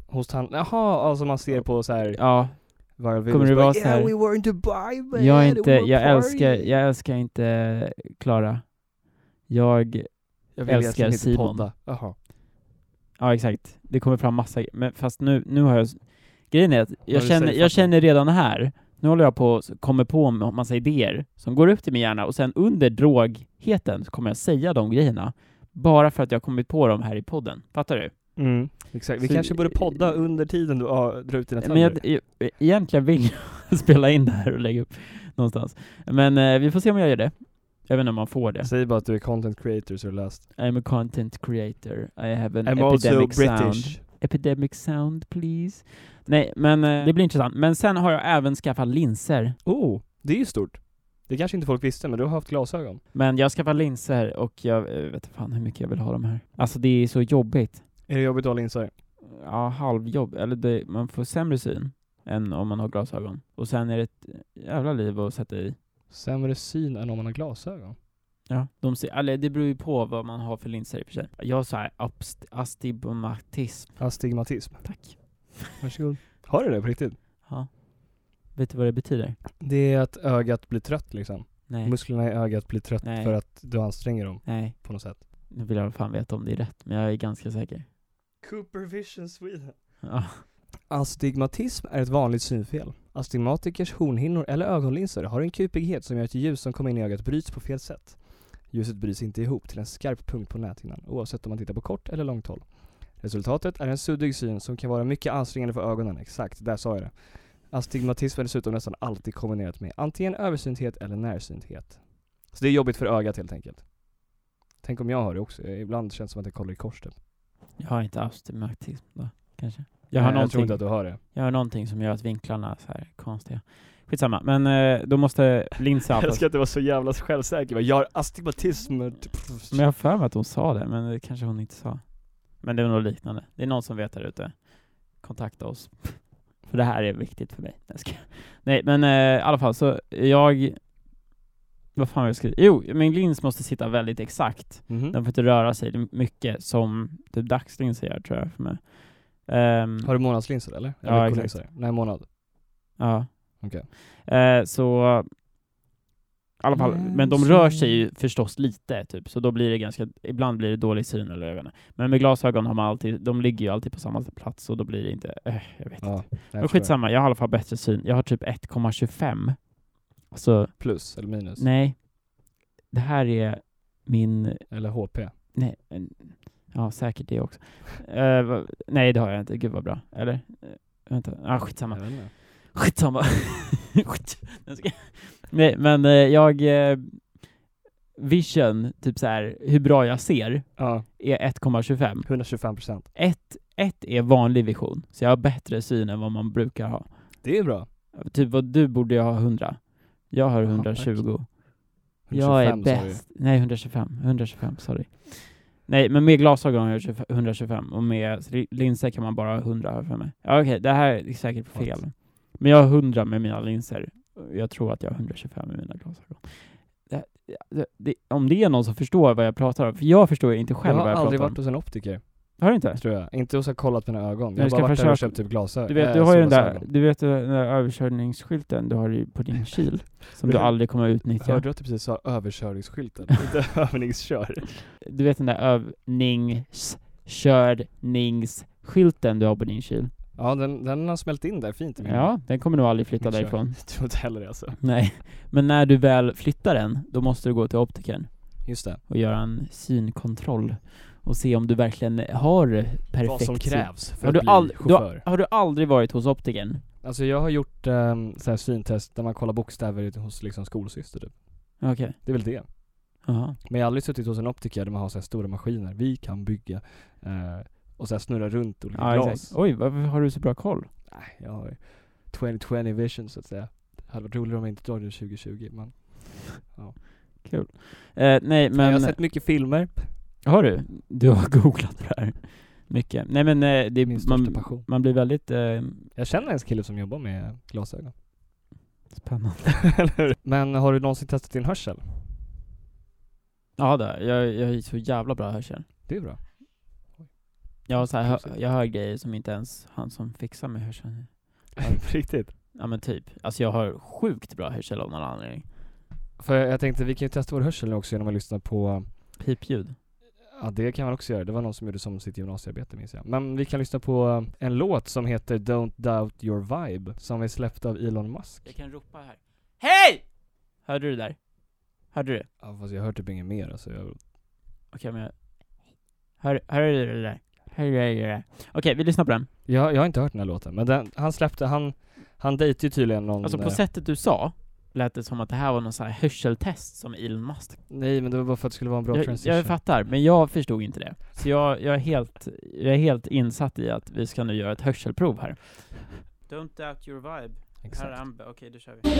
[SPEAKER 2] Hos tand... Jaha, alltså man ser på så här
[SPEAKER 1] Ja,
[SPEAKER 2] viral videos.
[SPEAKER 1] Kommer det
[SPEAKER 2] bara,
[SPEAKER 1] vara så här-
[SPEAKER 2] Yeah, we were in Dubai, man.
[SPEAKER 1] Jag, är inte,
[SPEAKER 2] It was a
[SPEAKER 1] jag,
[SPEAKER 2] party."
[SPEAKER 1] älskar, jag älskar inte Klara. Jag,
[SPEAKER 2] Jag
[SPEAKER 1] älskar
[SPEAKER 2] vill egentligen inte
[SPEAKER 1] Simon.
[SPEAKER 2] podda. Jaha.
[SPEAKER 1] ja exakt, det kommer fram massa men fast nu, nu har jag, grejen är att jag
[SPEAKER 2] du
[SPEAKER 1] känner,
[SPEAKER 2] säger
[SPEAKER 1] jag
[SPEAKER 2] fattar.
[SPEAKER 1] känner redan här, nu håller jag på och kommer på en massa idéer som går upp till min hjärna och sen under drogheten så kommer jag säga de grejerna. Bara för att jag har kommit på dem här i podden, fattar du?
[SPEAKER 2] Mm, exakt. Vi
[SPEAKER 1] Så- eh,
[SPEAKER 2] kanske borde podda under tiden du ja, drar ut dina tänder.
[SPEAKER 1] Men jag, e- egentligen vill jag spela in det här och lägga upp någonstans. Men eh, vi får se om jag gör det. Jag vet inte om man får det.
[SPEAKER 2] Säg bara att du är content creator så är det löst.
[SPEAKER 1] I'm a content creator. I have an
[SPEAKER 2] I'm also
[SPEAKER 1] epidemic sound.
[SPEAKER 2] British.
[SPEAKER 1] Epidemic sound, please. Nej, men eh, det blir intressant. Men sen har jag även skaffat linser.
[SPEAKER 2] Oh, det är ju stort. Det kanske inte folk visste, men du har haft glasögon.
[SPEAKER 1] Men jag har skaffat linser och jag eh, vet fan hur mycket jag vill ha de här. Alltså det är så jobbigt.
[SPEAKER 2] Är det jobbigt att ha linser?
[SPEAKER 1] Ja, halvjobb. Eller det, man får sämre syn än om man har glasögon. Och sen är det ett jävla liv att sätta i.
[SPEAKER 2] Sämre syn än om man har glasögon.
[SPEAKER 1] Ja. De ser, eller det beror ju på vad man har för linser i och för sig. Jag har så här abst- astigmatism.
[SPEAKER 2] Astigmatism.
[SPEAKER 1] Tack.
[SPEAKER 2] Varsågod. Har du det på riktigt?
[SPEAKER 1] Ja. Vet du vad det betyder?
[SPEAKER 2] Det är att ögat blir trött liksom.
[SPEAKER 1] Nej.
[SPEAKER 2] Musklerna i ögat blir trött
[SPEAKER 1] Nej.
[SPEAKER 2] för att du anstränger dem
[SPEAKER 1] Nej.
[SPEAKER 2] på något sätt.
[SPEAKER 1] Nu vill jag fan veta om det är rätt, men jag är ganska säker.
[SPEAKER 2] Cooper Vision Sweden.
[SPEAKER 1] Ja.
[SPEAKER 2] Astigmatism är ett vanligt synfel. Astigmatikers hornhinnor eller ögonlinser har en kupighet som gör att ljus som kommer in i ögat bryts på fel sätt. Ljuset bryts inte ihop till en skarp punkt på näthinnan oavsett om man tittar på kort eller långt håll. Resultatet är en suddig syn som kan vara mycket ansträngande för ögonen. Exakt, där sa jag det. Astigmatism är dessutom nästan alltid kombinerat med antingen översynthet eller närsynthet. Så det är jobbigt för ögat helt enkelt. Tänk om jag har det också. Ibland känns det som att jag kollar i kors typ.
[SPEAKER 1] Jag har inte astigmatism då, kanske. Jag har,
[SPEAKER 2] Nej, jag tror
[SPEAKER 1] någonting,
[SPEAKER 2] inte att du har det.
[SPEAKER 1] jag har någonting som gör att vinklarna är så här konstiga. Skitsamma, men eh, då måste linsen
[SPEAKER 2] Jag
[SPEAKER 1] anpassas.
[SPEAKER 2] älskar att du var så jävla självsäker. Jag har astigmatism. typ.
[SPEAKER 1] Men jag har för mig att hon sa det, men det kanske hon inte sa. Men det är något liknande. Det är någon som vet där ute. Kontakta oss. För det här är viktigt för mig. Jag ska. Nej, men eh, i alla fall så jag... Vad fan var jag skulle... Jo, min lins måste sitta väldigt exakt.
[SPEAKER 2] Mhm.
[SPEAKER 1] Den får inte röra sig Det är mycket som typ dagslinser gör tror jag för mig. Ehm,
[SPEAKER 2] Har du månadslinser eller?
[SPEAKER 1] Ja,
[SPEAKER 2] Eller
[SPEAKER 1] exakt.
[SPEAKER 2] veckolinser? Nej, månad.
[SPEAKER 1] Ja.
[SPEAKER 2] Okej.
[SPEAKER 1] Eh, så i alla fall,
[SPEAKER 2] Mm,
[SPEAKER 1] men de rör sig ju förstås lite typ, så då blir det ganska, ibland blir det dålig syn eller jag vet inte. Men med glasögon har man alltid, de ligger ju alltid på samma plats och då blir det inte, eh, jag vet
[SPEAKER 2] Ja,
[SPEAKER 1] inte.
[SPEAKER 2] jag
[SPEAKER 1] Men
[SPEAKER 2] förstår.
[SPEAKER 1] skitsamma, jag har i alla fall bättre syn. Jag har typ 1,25. Alltså,
[SPEAKER 2] Plus eller minus?
[SPEAKER 1] nej. Det här är min
[SPEAKER 2] Eller HP?
[SPEAKER 1] Nej, en- ja säkert det också. Eh, va- nej det har jag inte, gud vad bra. Eller? Eh, vänta, ah,
[SPEAKER 2] Jag
[SPEAKER 1] skitsamma.
[SPEAKER 2] vet inte.
[SPEAKER 1] Skitsamma. Skit. Jag ska- nej men eh, jag, eh, vision, typ så här, hur bra jag ser,
[SPEAKER 2] Ja,
[SPEAKER 1] är 1,25.
[SPEAKER 2] 125 procent.
[SPEAKER 1] 1, 1 är vanlig vision, så jag har bättre syn än vad man brukar ha.
[SPEAKER 2] Det är bra.
[SPEAKER 1] Typ vad du borde ju ha 100. Jag har
[SPEAKER 2] Jaha,
[SPEAKER 1] 120. Jag är
[SPEAKER 2] 125 sa du ju.
[SPEAKER 1] bäst. Nej, 125. 125, sorry. Nej, men med glasögon har jag 25 125 och med li- linser kan man bara ha 100 här för mig. Ja, okej, det här är säkert fel. Men jag har 100 med mina linser. Jag tror att jag har 125 med mina glasögon. Det, det, det, om det är någon som förstår vad jag pratar om, för jag förstår ju inte själv
[SPEAKER 2] Jag har
[SPEAKER 1] vad jag
[SPEAKER 2] aldrig
[SPEAKER 1] pratar om.
[SPEAKER 2] varit hos en optiker,
[SPEAKER 1] Har du inte?
[SPEAKER 2] tror jag. Inte hos att kollat mina ögon.
[SPEAKER 1] du
[SPEAKER 2] Jag har
[SPEAKER 1] ska
[SPEAKER 2] bara varit där och
[SPEAKER 1] försöka-
[SPEAKER 2] köpt typ glasögon.
[SPEAKER 1] Du vet, du har ju den där, du vet den där överkörningsskylten du har ju på din kyl, som du aldrig kommer att utnyttja.
[SPEAKER 2] Hörde du att du precis sa överkörningsskylten? Inte övningskör.
[SPEAKER 1] du vet den där övningskörningsskylten du har på din kyl?
[SPEAKER 2] Ja, den, den har smält in där fint i min
[SPEAKER 1] Ja, den kommer nog aldrig flytta
[SPEAKER 2] Kör.
[SPEAKER 1] därifrån.
[SPEAKER 2] Mm. Jag tror inte heller det alltså.
[SPEAKER 1] Nej, men när du väl flyttar den, då måste du gå till optikern
[SPEAKER 2] Just det.
[SPEAKER 1] och göra en synkontroll och se om du verkligen har perfekt
[SPEAKER 2] Vad som
[SPEAKER 1] syn.
[SPEAKER 2] krävs för
[SPEAKER 1] Har
[SPEAKER 2] att
[SPEAKER 1] du,
[SPEAKER 2] bli
[SPEAKER 1] ald- du
[SPEAKER 2] chaufför.
[SPEAKER 1] har, har du aldrig varit hos optikern?
[SPEAKER 2] Alltså jag har gjort um, så här syntest där man kollar bokstäver ute hos liksom skolsyster typ.
[SPEAKER 1] Okej,
[SPEAKER 2] Det är väl det.
[SPEAKER 1] jaha.
[SPEAKER 2] Men jag har aldrig suttit hos en optiker där man har så här stora maskiner. Vi kan bygga eh, och så här snurra runt olika
[SPEAKER 1] Ja,
[SPEAKER 2] glas.
[SPEAKER 1] exakt. Oj, varför har du så bra koll?
[SPEAKER 2] Nej, jag har 2020 vision så att säga. Det hade varit roligare om jag inte drog den 2020 men...
[SPEAKER 1] Kul. Eh, nej
[SPEAKER 2] men...
[SPEAKER 1] men...
[SPEAKER 2] Jag har sett mycket filmer.
[SPEAKER 1] Har du? Du har googlat på det här. Mycket. Nej men eh, det,
[SPEAKER 2] Min
[SPEAKER 1] är-
[SPEAKER 2] största
[SPEAKER 1] man,
[SPEAKER 2] passion.
[SPEAKER 1] man blir väldigt eh,
[SPEAKER 2] Jag känner en kille som jobbar med glasögon.
[SPEAKER 1] spännande.
[SPEAKER 2] men har du någonsin testat din hörsel?
[SPEAKER 1] Ja det har jag. jag, jag har så jävla bra hörsel.
[SPEAKER 2] Det är bra.
[SPEAKER 1] Jag, har så här, hö-
[SPEAKER 2] Prosit.
[SPEAKER 1] jag hör grejer som inte ens han som fixar med hörseln.
[SPEAKER 2] På Riktigt.
[SPEAKER 1] Ja men typ. Alltså jag har sjukt bra hörsel av någon anledning.
[SPEAKER 2] För jag tänkte vi kan ju testa vår hörsel nu också genom att lyssna på
[SPEAKER 1] Pipljud.
[SPEAKER 2] Ja det kan man också göra, det var någon som gjorde som sitt gymnasiearbete minns jag. Men vi kan lyssna på eh, en låt som heter Don't Doubt Your Vibe, som är släppt av Elon Musk.
[SPEAKER 1] kan ropa här. Hej! Hörde du det där? Hörde du? det?
[SPEAKER 2] Ja fast jag hör typ inget mer alltså, jag...
[SPEAKER 1] Okej men jag... Hör, hörde du det där? Hörde du det där? Okej vi lyssnar på den.
[SPEAKER 2] jag, jag har inte hört den här låten, men den, han släppte, han, han dejtade ju tydligen någon...
[SPEAKER 1] Alltså på
[SPEAKER 2] eh,
[SPEAKER 1] sättet du sa lät det som att det här var någon sån här hörseltest som Elon Musk
[SPEAKER 2] Nej men det var bara för att det skulle vara en bra
[SPEAKER 1] jag,
[SPEAKER 2] transition.
[SPEAKER 1] jag fattar, men jag förstod inte det. Så jag, jag, är helt, jag är helt insatt i att vi ska nu göra ett hörselprov här. Don't doubt your vibe.
[SPEAKER 2] Exakt.
[SPEAKER 1] Ambe, okej då kör vi.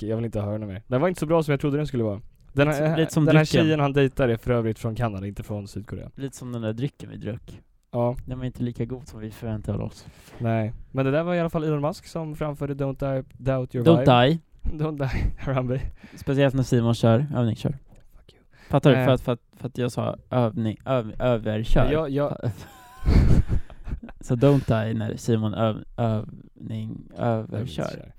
[SPEAKER 2] Jag vill inte höra den mer. Den var inte så bra som jag trodde den skulle vara. Den, här- eh,
[SPEAKER 1] Lite som
[SPEAKER 2] den här
[SPEAKER 1] drycken.
[SPEAKER 2] tjejen han dejtar är för övrigt från Kanada, inte från Sydkorea.
[SPEAKER 1] Lite som den där drycken vi drack.
[SPEAKER 2] Ja,
[SPEAKER 1] Den var inte lika god som vi förväntade oss.
[SPEAKER 2] nej. Men det där var i alla fall Elon Musk som framförde Don't Di- Doubt Your Vibe.
[SPEAKER 1] Don't die.
[SPEAKER 2] Don't die, Harambe.
[SPEAKER 1] Speciellt när Simon kör, övningskör. Fattar du?
[SPEAKER 2] Eh.
[SPEAKER 1] För att, för, att, för att jag sa övning, öv, överkör.
[SPEAKER 2] Jag, jag,
[SPEAKER 1] Så don't die när Simon öv, övning, överkör.
[SPEAKER 2] Överkör.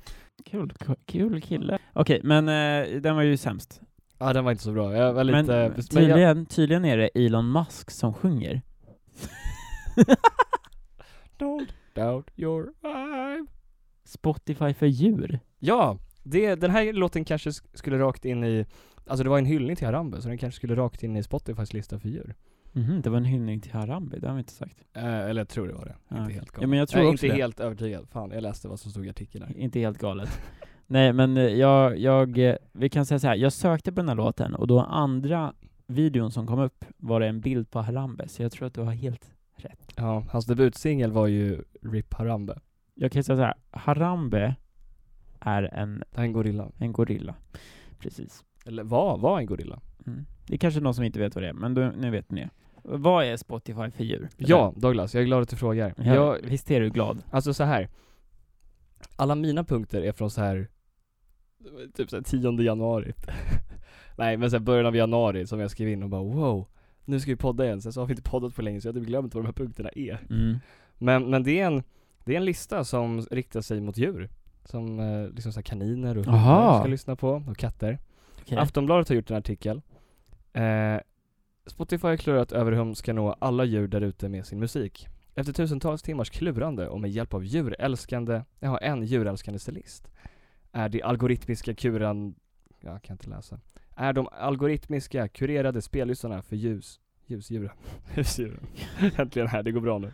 [SPEAKER 1] Kul, kul kille. Okej, men eh, den var ju sämst.
[SPEAKER 2] Ja den var inte så bra, jag var lite...
[SPEAKER 1] Men
[SPEAKER 2] Men, men jag,
[SPEAKER 1] tydligen, tydligen är det Elon Musk som sjunger.
[SPEAKER 2] don't doubt your vibe.
[SPEAKER 1] Spotify för djur.
[SPEAKER 2] Ja! Det, den här låten kanske sk- skulle rakt in i... Alltså det var en hyllning till Harambe, så den kanske skulle rakt in i Spotifys lista för djur.
[SPEAKER 1] Mhm, det var en hyllning till Harambe, det har vi inte sagt.
[SPEAKER 2] Eh, eller jag tror det var det.
[SPEAKER 1] Ja,
[SPEAKER 2] Inte
[SPEAKER 1] okej.
[SPEAKER 2] helt galet.
[SPEAKER 1] Ja, men jag tror
[SPEAKER 2] Nej,
[SPEAKER 1] också
[SPEAKER 2] inte
[SPEAKER 1] det.
[SPEAKER 2] helt övertygad. Fan, jag läste vad som stod i artikeln där.
[SPEAKER 1] Inte helt galet. Nej, men eh, jag, jag, eh, vi kan säga så här. jag sökte på den här låten och då andra videon som kom upp var det en bild på Harambe, så jag tror att du har helt rätt.
[SPEAKER 2] Ja, hans debutsingel var ju RIP Harambe.
[SPEAKER 1] Jag kan säga så här. Harambe är en,
[SPEAKER 2] Det här är en gorilla.
[SPEAKER 1] en gorilla. Precis.
[SPEAKER 2] Eller var, var en gorilla.
[SPEAKER 1] Mm. Det är kanske någon som inte vet vad det är, men då, nu vet ni. Vad är Spotify för djur?
[SPEAKER 2] Ja, Douglas, jag är glad att du frågar.
[SPEAKER 1] Eller? Ja,
[SPEAKER 2] Jag,
[SPEAKER 1] visst är du glad?
[SPEAKER 2] Alltså så här. Alla mina punkter är från så här typ så här 10 januari. Nej, men sen början av januari som jag skrev in och bara wow, nu ska vi podda igen. Sen så har vi inte poddat på länge så jag har typ glömt vad de här punkterna är.
[SPEAKER 1] Mm.
[SPEAKER 2] Men, men det, är en, det är en lista som riktar sig mot djur. Som eh, liksom så här kaniner och
[SPEAKER 1] Aha.
[SPEAKER 2] hundar ska lyssna på, och katter.
[SPEAKER 1] Okej.
[SPEAKER 2] Aftonbladet har gjort en artikel. Eh, Spotify har klurat över hur de ska nå alla djur där ute med sin musik. Efter tusentals timmars klurande och med hjälp av djurälskande, jaha, en djurälskande stilist, är de algoritmiska kuran... Jag kan inte läsa. Är de algoritmiska kurerade spellistorna för ljus... Ljusdjuren. Husdjuren. Äntligen här, det går bra nu.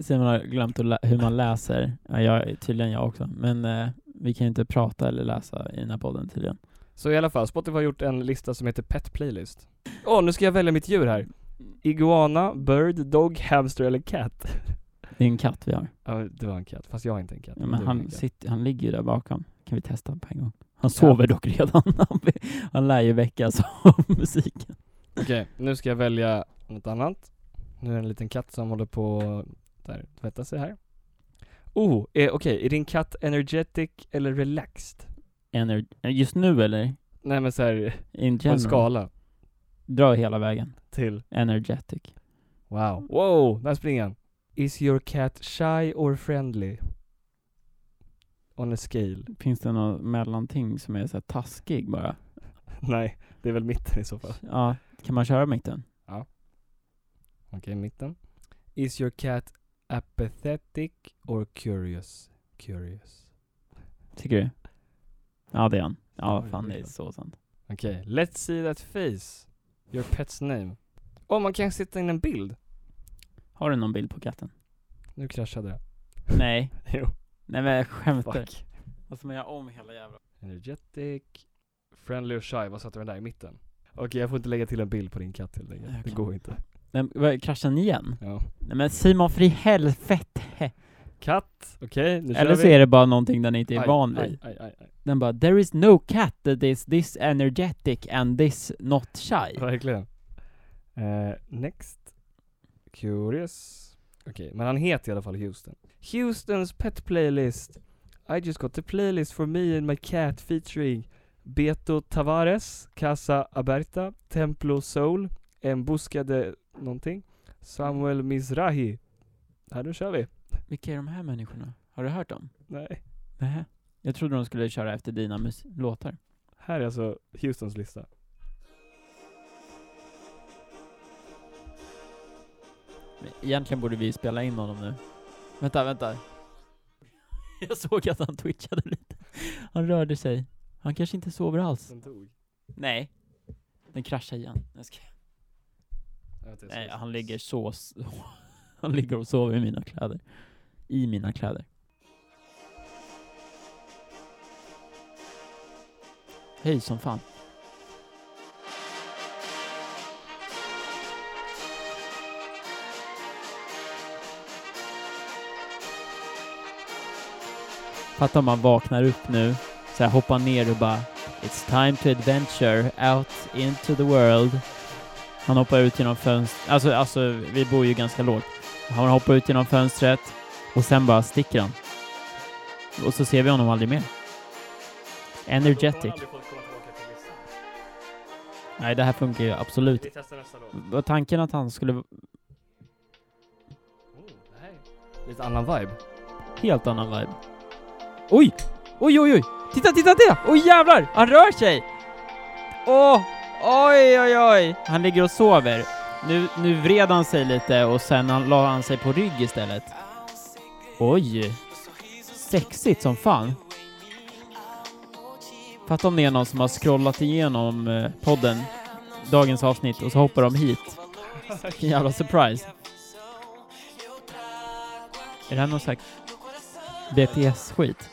[SPEAKER 1] Simon har glömt att lä- hur man läser. Ja, jag, tydligen jag också. Men eh, vi kan ju inte prata eller läsa i den här podden tydligen.
[SPEAKER 2] Så i alla fall, Spotify har gjort en lista som heter Pet Playlist. Åh, nu ska jag välja mitt djur här. Iguana, bird, dog, hamster eller cat?
[SPEAKER 1] Det är en katt vi har.
[SPEAKER 2] Ja, det var en katt, fast jag har inte en katt.
[SPEAKER 1] Ja,
[SPEAKER 2] Du
[SPEAKER 1] men
[SPEAKER 2] har en
[SPEAKER 1] han,
[SPEAKER 2] katt.
[SPEAKER 1] sitter, han ligger ju där bakom. Kan vi testa på en gång? Han sover dock redan. Han, blir- han lär ju väckas av musiken.
[SPEAKER 2] Okej, nu ska jag välja något annat. Nu är det en liten katt som håller på där, tvätta sig här. Oh, eh, okej, är din katt energetic eller relaxed?
[SPEAKER 1] Ener- just nu eller?
[SPEAKER 2] Nej men såhär,
[SPEAKER 1] In
[SPEAKER 2] på en
[SPEAKER 1] general.
[SPEAKER 2] skala
[SPEAKER 1] Dra hela vägen.
[SPEAKER 2] till,
[SPEAKER 1] Energetic.
[SPEAKER 2] wow, wow, där springer han. Is your cat shy or friendly? On a scale.
[SPEAKER 1] Finns det något mellanting som är så här taskig bara?
[SPEAKER 2] Nej, det är väl mitten i så fall.
[SPEAKER 1] Ja, kan man köra mitten?
[SPEAKER 2] Okej, mitten. Is your cat apathetic or curious? Curious.
[SPEAKER 1] Tycker du? Ja, det är han. Ja,
[SPEAKER 2] Oj,
[SPEAKER 1] fan
[SPEAKER 2] oj,
[SPEAKER 1] det är
[SPEAKER 2] oj.
[SPEAKER 1] så sant.
[SPEAKER 2] Okej, let's see that face. Your pet's name. Åh, man kan sätta in en bild.
[SPEAKER 1] Har du någon bild på katten?
[SPEAKER 2] Nu kraschade det.
[SPEAKER 1] Nej.
[SPEAKER 2] Jo.
[SPEAKER 1] Nej men jag skämtar.
[SPEAKER 2] Fuck.
[SPEAKER 1] Vad ska man göra om hela jävla...
[SPEAKER 2] Energetic. Friendly och shy, vad satte vi den där i mitten? Okej, jag får inte lägga till en bild på din katt helt enkelt.
[SPEAKER 1] Jag
[SPEAKER 2] Det
[SPEAKER 1] kan.
[SPEAKER 2] går inte.
[SPEAKER 1] Nej, vad, kraschar ni igen?
[SPEAKER 2] Ja.
[SPEAKER 1] Nej men Simon, för i helvete!
[SPEAKER 2] Katt, okej nu kör
[SPEAKER 1] Eller
[SPEAKER 2] vi.
[SPEAKER 1] så är det bara någonting den inte är van vid.
[SPEAKER 2] Aj, aj, aj, aj.
[SPEAKER 1] Den bara 'There is no cat that is this energetic and this not shy'
[SPEAKER 2] Verkligen. Eh, next. Curious. Okej, men han heter i alla fall Houston. Houstons pet playlist. I just got the playlist for me and my cat featuring Beto Tavares, Casa Aberta, Templo Soul, Embuscade någonting, Samuel Mizrahi. Här nu kör vi.
[SPEAKER 1] Vilka är de här människorna? Har du hört dem?
[SPEAKER 2] Nej.
[SPEAKER 1] Nej. Jag trodde de skulle köra efter dina mus- låtar.
[SPEAKER 2] Här är alltså Houstons lista.
[SPEAKER 1] Men Egentligen borde vi spela in honom nu. Vänta, vänta. Jag såg att han twitchade lite. Han rörde sig. Han kanske inte sover alls.
[SPEAKER 2] Den tog.
[SPEAKER 1] Nej. Den kraschar igen. Jag ska... Nej, han ligger så... s- Han ligger och sover i mina kläder. I mina kläder. Höj som fan. Fattar om man vaknar upp nu, så här hoppar ner och bara It's time to adventure out into the world. Han hoppar ut genom fönstret, alltså, alltså vi bor ju ganska lågt. Han hoppar ut genom fönstret och sen bara sticker han. Och så ser vi honom aldrig mer. Energetic. Nej, det här funkar ju absolut
[SPEAKER 2] Vi testar nästa låt.
[SPEAKER 1] Var tanken att han skulle...
[SPEAKER 2] Lite annan vibe.
[SPEAKER 1] Helt annan vibe. Oj! Oj, oj, oj! Titta, titta, titta! Oj jävlar! Han rör sig! Åh! Oj, oj, oj! Han ligger och sover. Nu, nu vred han sig lite och sen han, la han sig på rygg istället. Oj! Sexigt som fan. Fatta om det är någon som har scrollat igenom eh, podden, dagens avsnitt, och så hoppar de hit. Vilken jävla surprise. Är det här någon slags BTS-skit?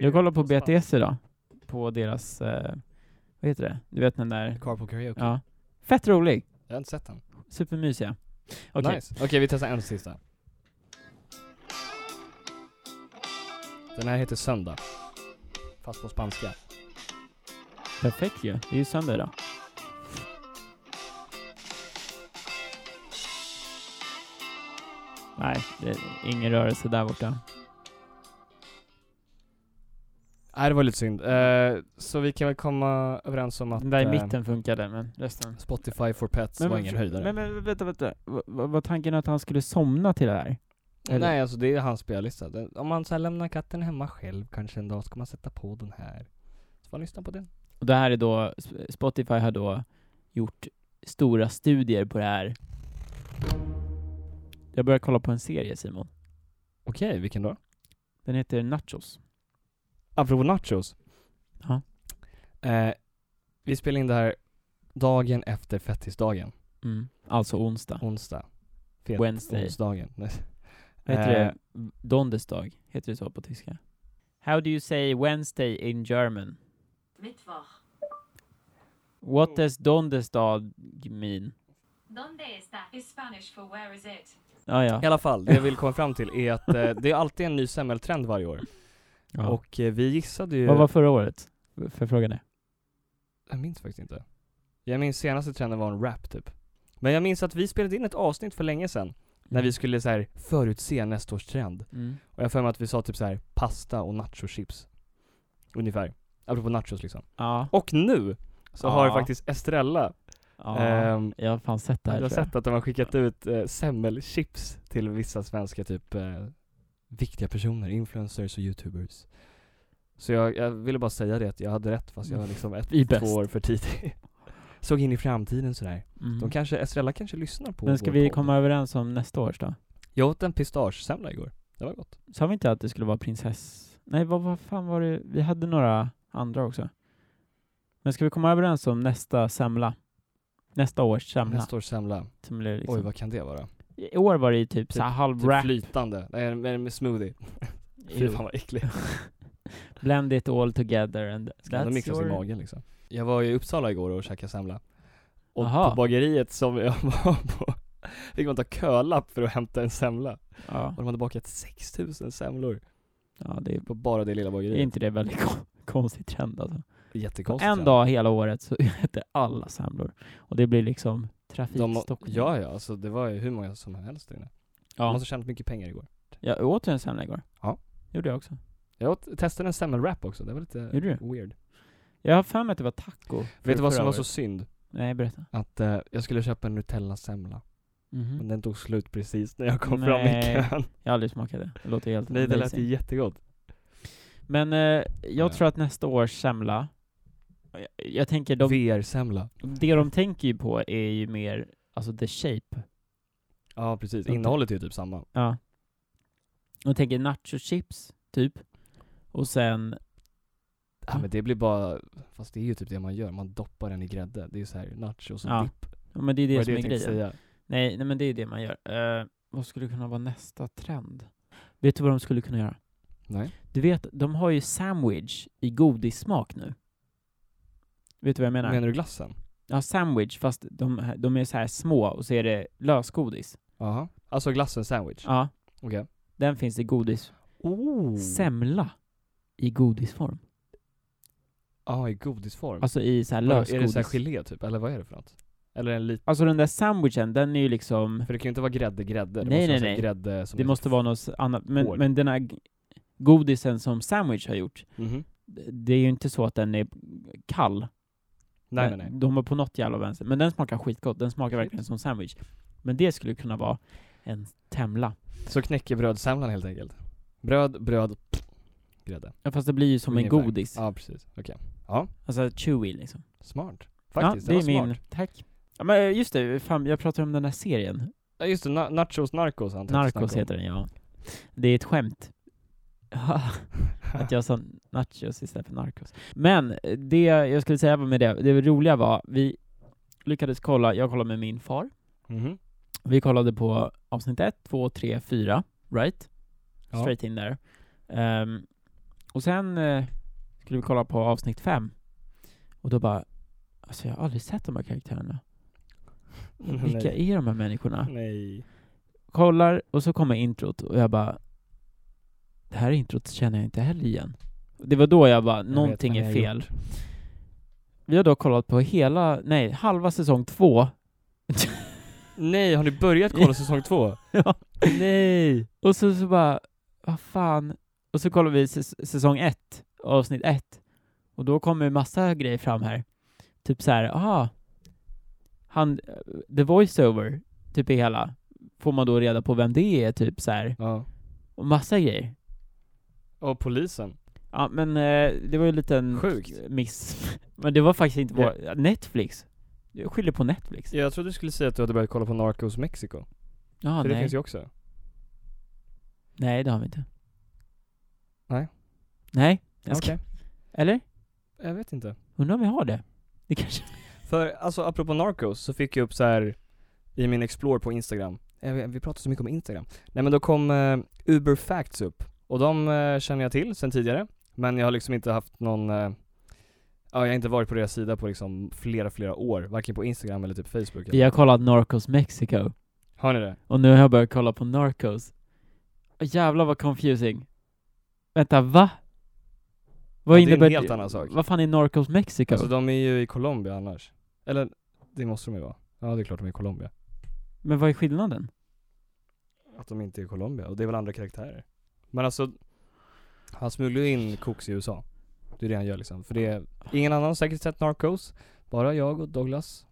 [SPEAKER 1] Jag kollar på BTS idag. På deras, eh, vad heter det? Du vet den där,
[SPEAKER 2] Carpool Karaoke.
[SPEAKER 1] ja. Fett rolig.
[SPEAKER 2] Jag har inte sett den.
[SPEAKER 1] Supermysiga. Okej.
[SPEAKER 2] Nice. Okej, vi testar en sista. Den här heter Söndag. Fast på spanska.
[SPEAKER 1] Perfekt ju. Det är ju söndag idag. Nej, det är ingen rörelse där borta.
[SPEAKER 2] Nej, det var lite synd. Eh, så vi kan väl komma överens om att
[SPEAKER 1] Den där i
[SPEAKER 2] eh,
[SPEAKER 1] mitten funkade, men resten.
[SPEAKER 2] Spotify for Pets var ingen höjdare.
[SPEAKER 1] Men, men vänta, vänta. Va- va- var tanken att han skulle somna till det här? eller?
[SPEAKER 2] Nej, alltså det är hans spellista. Den- Om man så här lämnar katten hemma själv kanske en dag, ska man sätta på den här. Så man lyssnar på den.
[SPEAKER 1] Och det här är då, Spotify har då gjort stora studier på det här. Jag börjar kolla på en serie Simon.
[SPEAKER 2] Okej, vilken då?
[SPEAKER 1] Den heter Nachos.
[SPEAKER 2] Apropå nachos.
[SPEAKER 1] Ja.
[SPEAKER 2] Eh, vi spelar in det här dagen efter fettisdagen,
[SPEAKER 1] Alltså onsdag.
[SPEAKER 2] onsdag. Fet
[SPEAKER 1] Wednesday.
[SPEAKER 2] Onsdagen. Nej.
[SPEAKER 1] Vad heter
[SPEAKER 2] Eh,
[SPEAKER 1] det? Dondesdag. Heter det så på tyska? How do you say Wednesday in German?
[SPEAKER 10] Mittwoch.
[SPEAKER 1] What does Dondesdag mean?
[SPEAKER 10] Donde está? Is Spanish for where is it?
[SPEAKER 1] Ah, ja,
[SPEAKER 2] I alla fall, det jag vill komma fram till är att eh, det är alltid en ny semmeltrend varje år.
[SPEAKER 1] ja.
[SPEAKER 2] Och eh, vi gissade ju...
[SPEAKER 1] Vad var förra året? Får jag fråga det?
[SPEAKER 2] Jag minns faktiskt inte. Jag minns senaste trenden var en rap typ. Men jag minns att vi spelade in ett avsnitt för länge sedan. När vi skulle så här förutse nästa års trend.
[SPEAKER 1] Mm.
[SPEAKER 2] Och jag har för mig att vi sa typ så här pasta och nachochips. Ungefär. Apropå nachos liksom.
[SPEAKER 1] Ja.
[SPEAKER 2] Och nu så har
[SPEAKER 1] Ja.
[SPEAKER 2] faktiskt Estrella,
[SPEAKER 1] ja.
[SPEAKER 2] Ehm,
[SPEAKER 1] jag har fan sett det här
[SPEAKER 2] du har
[SPEAKER 1] tror jag.
[SPEAKER 2] sett att de har skickat ut eh, semmelchips till vissa svenska typ eh, viktiga personer, influencers och youtubers. Så jag, jag ville bara säga det att jag hade rätt fast jag var liksom ett,
[SPEAKER 1] Vi är
[SPEAKER 2] två
[SPEAKER 1] bäst.
[SPEAKER 2] år för tidig. Såg in i framtiden sådär.
[SPEAKER 1] Mm.
[SPEAKER 2] De kanske, Estrella kanske lyssnar på
[SPEAKER 1] Men ska
[SPEAKER 2] vår
[SPEAKER 1] vi
[SPEAKER 2] podd.
[SPEAKER 1] komma överens om nästa års då?
[SPEAKER 2] Jag åt en pistagesemla igår. Det var gott.
[SPEAKER 1] Sa vi inte att det skulle vara prinsess... Nej, vad, vad fan var det? Vi hade några andra också. Men ska vi komma överens om nästa semla? Nästa års semla?
[SPEAKER 2] Nästa års semla.
[SPEAKER 1] Som blir liksom...
[SPEAKER 2] Oj, vad kan det vara?
[SPEAKER 1] I år var det ju typ, så här halv
[SPEAKER 2] Typ
[SPEAKER 1] wrap.
[SPEAKER 2] flytande. Nej, med, med smoothie. Fy fan vad äckligt.
[SPEAKER 1] Blend it all together and
[SPEAKER 2] Ska ändå
[SPEAKER 1] that's
[SPEAKER 2] mixas i
[SPEAKER 1] your...
[SPEAKER 2] magen liksom. Jag var i Uppsala igår och käkade semla. Och
[SPEAKER 1] Aha.
[SPEAKER 2] på bageriet som jag var på fick man ta kölapp för att hämta en semla.
[SPEAKER 1] Ja,
[SPEAKER 2] Och de hade bakat 6000 semlor
[SPEAKER 1] ja det är,
[SPEAKER 2] på bara det lilla
[SPEAKER 1] är
[SPEAKER 2] bageriet.
[SPEAKER 1] inte det väldigt kon- konstig trend alltså.
[SPEAKER 2] Jättekonstigt.
[SPEAKER 1] En dag hela året så heter alla semlor. Och det blir liksom
[SPEAKER 2] de,
[SPEAKER 1] trafikstockning.
[SPEAKER 2] Ja, Alltså, ja, alltså det var ju hur många som helst där inne. De
[SPEAKER 1] ja.
[SPEAKER 2] måste ha tjänat mycket pengar igår.
[SPEAKER 1] Jag åt ju en semla igår.
[SPEAKER 2] Ja.
[SPEAKER 1] Gjorde jag också.
[SPEAKER 2] Jag åt, testade en semmelwrap också, det var lite
[SPEAKER 1] Gjorde du?
[SPEAKER 2] weird.
[SPEAKER 1] Jag har för mig att det var taco.
[SPEAKER 2] Vet du vad som
[SPEAKER 1] förra
[SPEAKER 2] var
[SPEAKER 1] året.
[SPEAKER 2] så synd?
[SPEAKER 1] Nej, berätta.
[SPEAKER 2] Att eh, jag skulle köpa en Nutella-semla, men den tog slut precis när jag kom fram i
[SPEAKER 1] Mm. Nej.
[SPEAKER 2] kön.
[SPEAKER 1] Mm-hmm. Jag har aldrig smakat det. Det låter helt
[SPEAKER 2] Nej, det lät ju
[SPEAKER 1] amazing.
[SPEAKER 2] jättegott.
[SPEAKER 1] Men eh, jag
[SPEAKER 2] Ja.
[SPEAKER 1] tror att nästa års semla, jag, jag tänker de,
[SPEAKER 2] VR-semla.
[SPEAKER 1] det de tänker ju på är ju mer, alltså the shape.
[SPEAKER 2] Ja precis,
[SPEAKER 1] Inte-
[SPEAKER 2] innehållet är ju typ samma.
[SPEAKER 1] Ja. De tänker nachochips, typ. Och sen,
[SPEAKER 2] Ja,
[SPEAKER 1] Mm.
[SPEAKER 2] men det blir bara, fast det är ju typ det man gör, man doppar den i grädde. Det är ju såhär nachos och
[SPEAKER 1] Ja,
[SPEAKER 2] dipp.
[SPEAKER 1] ja men det är det
[SPEAKER 2] Vad
[SPEAKER 1] som är
[SPEAKER 2] jag tänkte
[SPEAKER 1] grejen.
[SPEAKER 2] säga.
[SPEAKER 1] Nej, nej men det är det man gör. Eh, vad skulle kunna vara nästa trend? Vet du vad de skulle kunna göra?
[SPEAKER 2] Nej.
[SPEAKER 1] Du vet, de har ju sandwich i godissmak nu. Vet du vad jag menar?
[SPEAKER 2] Menar du glassen?
[SPEAKER 1] Ja, sandwich, fast de, de är så här små och så är det lösgodis.
[SPEAKER 2] Jaha. Alltså glassen sandwich?
[SPEAKER 1] Ja,
[SPEAKER 2] Okej.
[SPEAKER 1] den finns i godis.
[SPEAKER 2] Oh.
[SPEAKER 1] Semla i godisform.
[SPEAKER 2] Ja, i godisform.
[SPEAKER 1] Alltså i så här
[SPEAKER 2] Vadå, är det såhär
[SPEAKER 1] lösgodis.
[SPEAKER 2] gelé typ, eller vad är det för något? Eller en liten,
[SPEAKER 1] Alltså den där sandwichen, den är ju liksom,
[SPEAKER 2] för det kan ju inte vara grädde, grädde. Det
[SPEAKER 1] Nej, nej,
[SPEAKER 2] måste vara så här
[SPEAKER 1] nej.
[SPEAKER 2] grädde som
[SPEAKER 1] det
[SPEAKER 2] är-
[SPEAKER 1] måste vara något annat. Men,
[SPEAKER 2] Hård.
[SPEAKER 1] men den här g- godisen som sandwich har gjort,
[SPEAKER 2] Mhm.
[SPEAKER 1] d- det är ju inte så att den är kall.
[SPEAKER 2] Nej, nej,
[SPEAKER 1] Den-
[SPEAKER 2] nej.
[SPEAKER 1] De har på något jävla vänster. Men den smakar skitgott, den smakar verkligen som sandwich. Men det skulle kunna vara en temla.
[SPEAKER 2] Så knäckebrödssemlan helt enkelt. Bröd, bröd, grädde.
[SPEAKER 1] Ja, fast det blir ju som
[SPEAKER 2] Ungefär.
[SPEAKER 1] en godis.
[SPEAKER 2] Ja, precis. Okej.
[SPEAKER 1] Alltså chewy liksom.
[SPEAKER 2] Smart. Faktiskt,
[SPEAKER 1] ja, det är
[SPEAKER 2] den var
[SPEAKER 1] min.
[SPEAKER 2] smart.
[SPEAKER 1] Tack. Ja, men eh, just det, fan, jag pratade om den där serien.
[SPEAKER 2] Ja just det, na- Nachos Narcos antar jag att vi
[SPEAKER 1] Narcos
[SPEAKER 2] snackar om.
[SPEAKER 1] heter den, ja. Det är ett skämt. att jag sa nachos istället för narcos. Men eh, det jag skulle säga med det, det roliga var, vi lyckades kolla, jag kollade med min far.
[SPEAKER 2] Mhm.
[SPEAKER 1] Vi kollade på avsnitt 1, 2, 3, 4, right?
[SPEAKER 2] Ja.
[SPEAKER 1] Straight in där. Ehm, och sen eh, skulle vi kolla på avsnitt 5. Och då bara, alltså jag har aldrig sett de här karaktärerna. Vilka är de här människorna?
[SPEAKER 2] Mm. Nej.
[SPEAKER 1] kollar och så kommer introt och jag bara Det här introt känner jag inte heller igen. Det var då jag bara,
[SPEAKER 2] vet
[SPEAKER 1] någonting
[SPEAKER 2] vad ni
[SPEAKER 1] är
[SPEAKER 2] har
[SPEAKER 1] fel. Vi har då kollat på hela, nej, halva säsong två.
[SPEAKER 2] Nej, har ni börjat kolla säsong två?
[SPEAKER 1] Ja.
[SPEAKER 2] Nej!
[SPEAKER 1] Och så, så bara, vad fan. Och så kollar vi säs- säsong ett, avsnitt ett. Och då kommer en massa grejer fram här. Typ så här, aha. Han, the voiceover, typ i hela. Får man då reda på vem det är, typ så här.
[SPEAKER 2] Ja.
[SPEAKER 1] Och massa grejer.
[SPEAKER 2] Och polisen.
[SPEAKER 1] Ja, men eh, det var ju en liten
[SPEAKER 2] Sjukt.
[SPEAKER 1] miss. Men det var faktiskt inte vår, Netflix. Jag skyller på Netflix.
[SPEAKER 2] Jag trodde du skulle säga att du hade börjat kolla på Narcos Mexico.
[SPEAKER 1] Ja,
[SPEAKER 2] för det
[SPEAKER 1] nej.
[SPEAKER 2] finns ju också.
[SPEAKER 1] nej, det har vi inte.
[SPEAKER 2] Nej.
[SPEAKER 1] Nej, jag ska...
[SPEAKER 2] Okej.
[SPEAKER 1] Eller?
[SPEAKER 2] Jag vet inte.
[SPEAKER 1] Undrar om vi har det? Det kanske...
[SPEAKER 2] För alltså apropå Narcos så fick jag upp så här i min Explore på Instagram. Eh, Vi vi pratar så mycket om Instagram. Nej men då kom eh, Uber Facts upp. Och de eh, känner jag till sen tidigare. Men jag har liksom inte haft någon, eh, ja jag har inte varit på deras sida på liksom flera, flera år. Varken på Instagram eller typ Facebook.
[SPEAKER 1] Vi har kollat Narcos Mexico.
[SPEAKER 2] Har ni det?
[SPEAKER 1] Och nu har jag börjat kolla på Narcos. Åh, jävlar vad confusing. Vänta, va? Vad
[SPEAKER 2] Ja, det är en
[SPEAKER 1] innebär
[SPEAKER 2] helt annan sak.
[SPEAKER 1] Vad fan är Narcos Mexico?
[SPEAKER 2] Alltså de är ju i Colombia annars. Eller, det måste de ju vara. Ja det är klart de är i Colombia.
[SPEAKER 1] Men vad är skillnaden?
[SPEAKER 2] Att de inte är i Colombia, och det är väl andra karaktärer. Men alltså, han smugglar ju in koks i USA. Det är det han gör liksom. För det är, ingen annan har säkert sett Narcos. Bara jag och Douglas.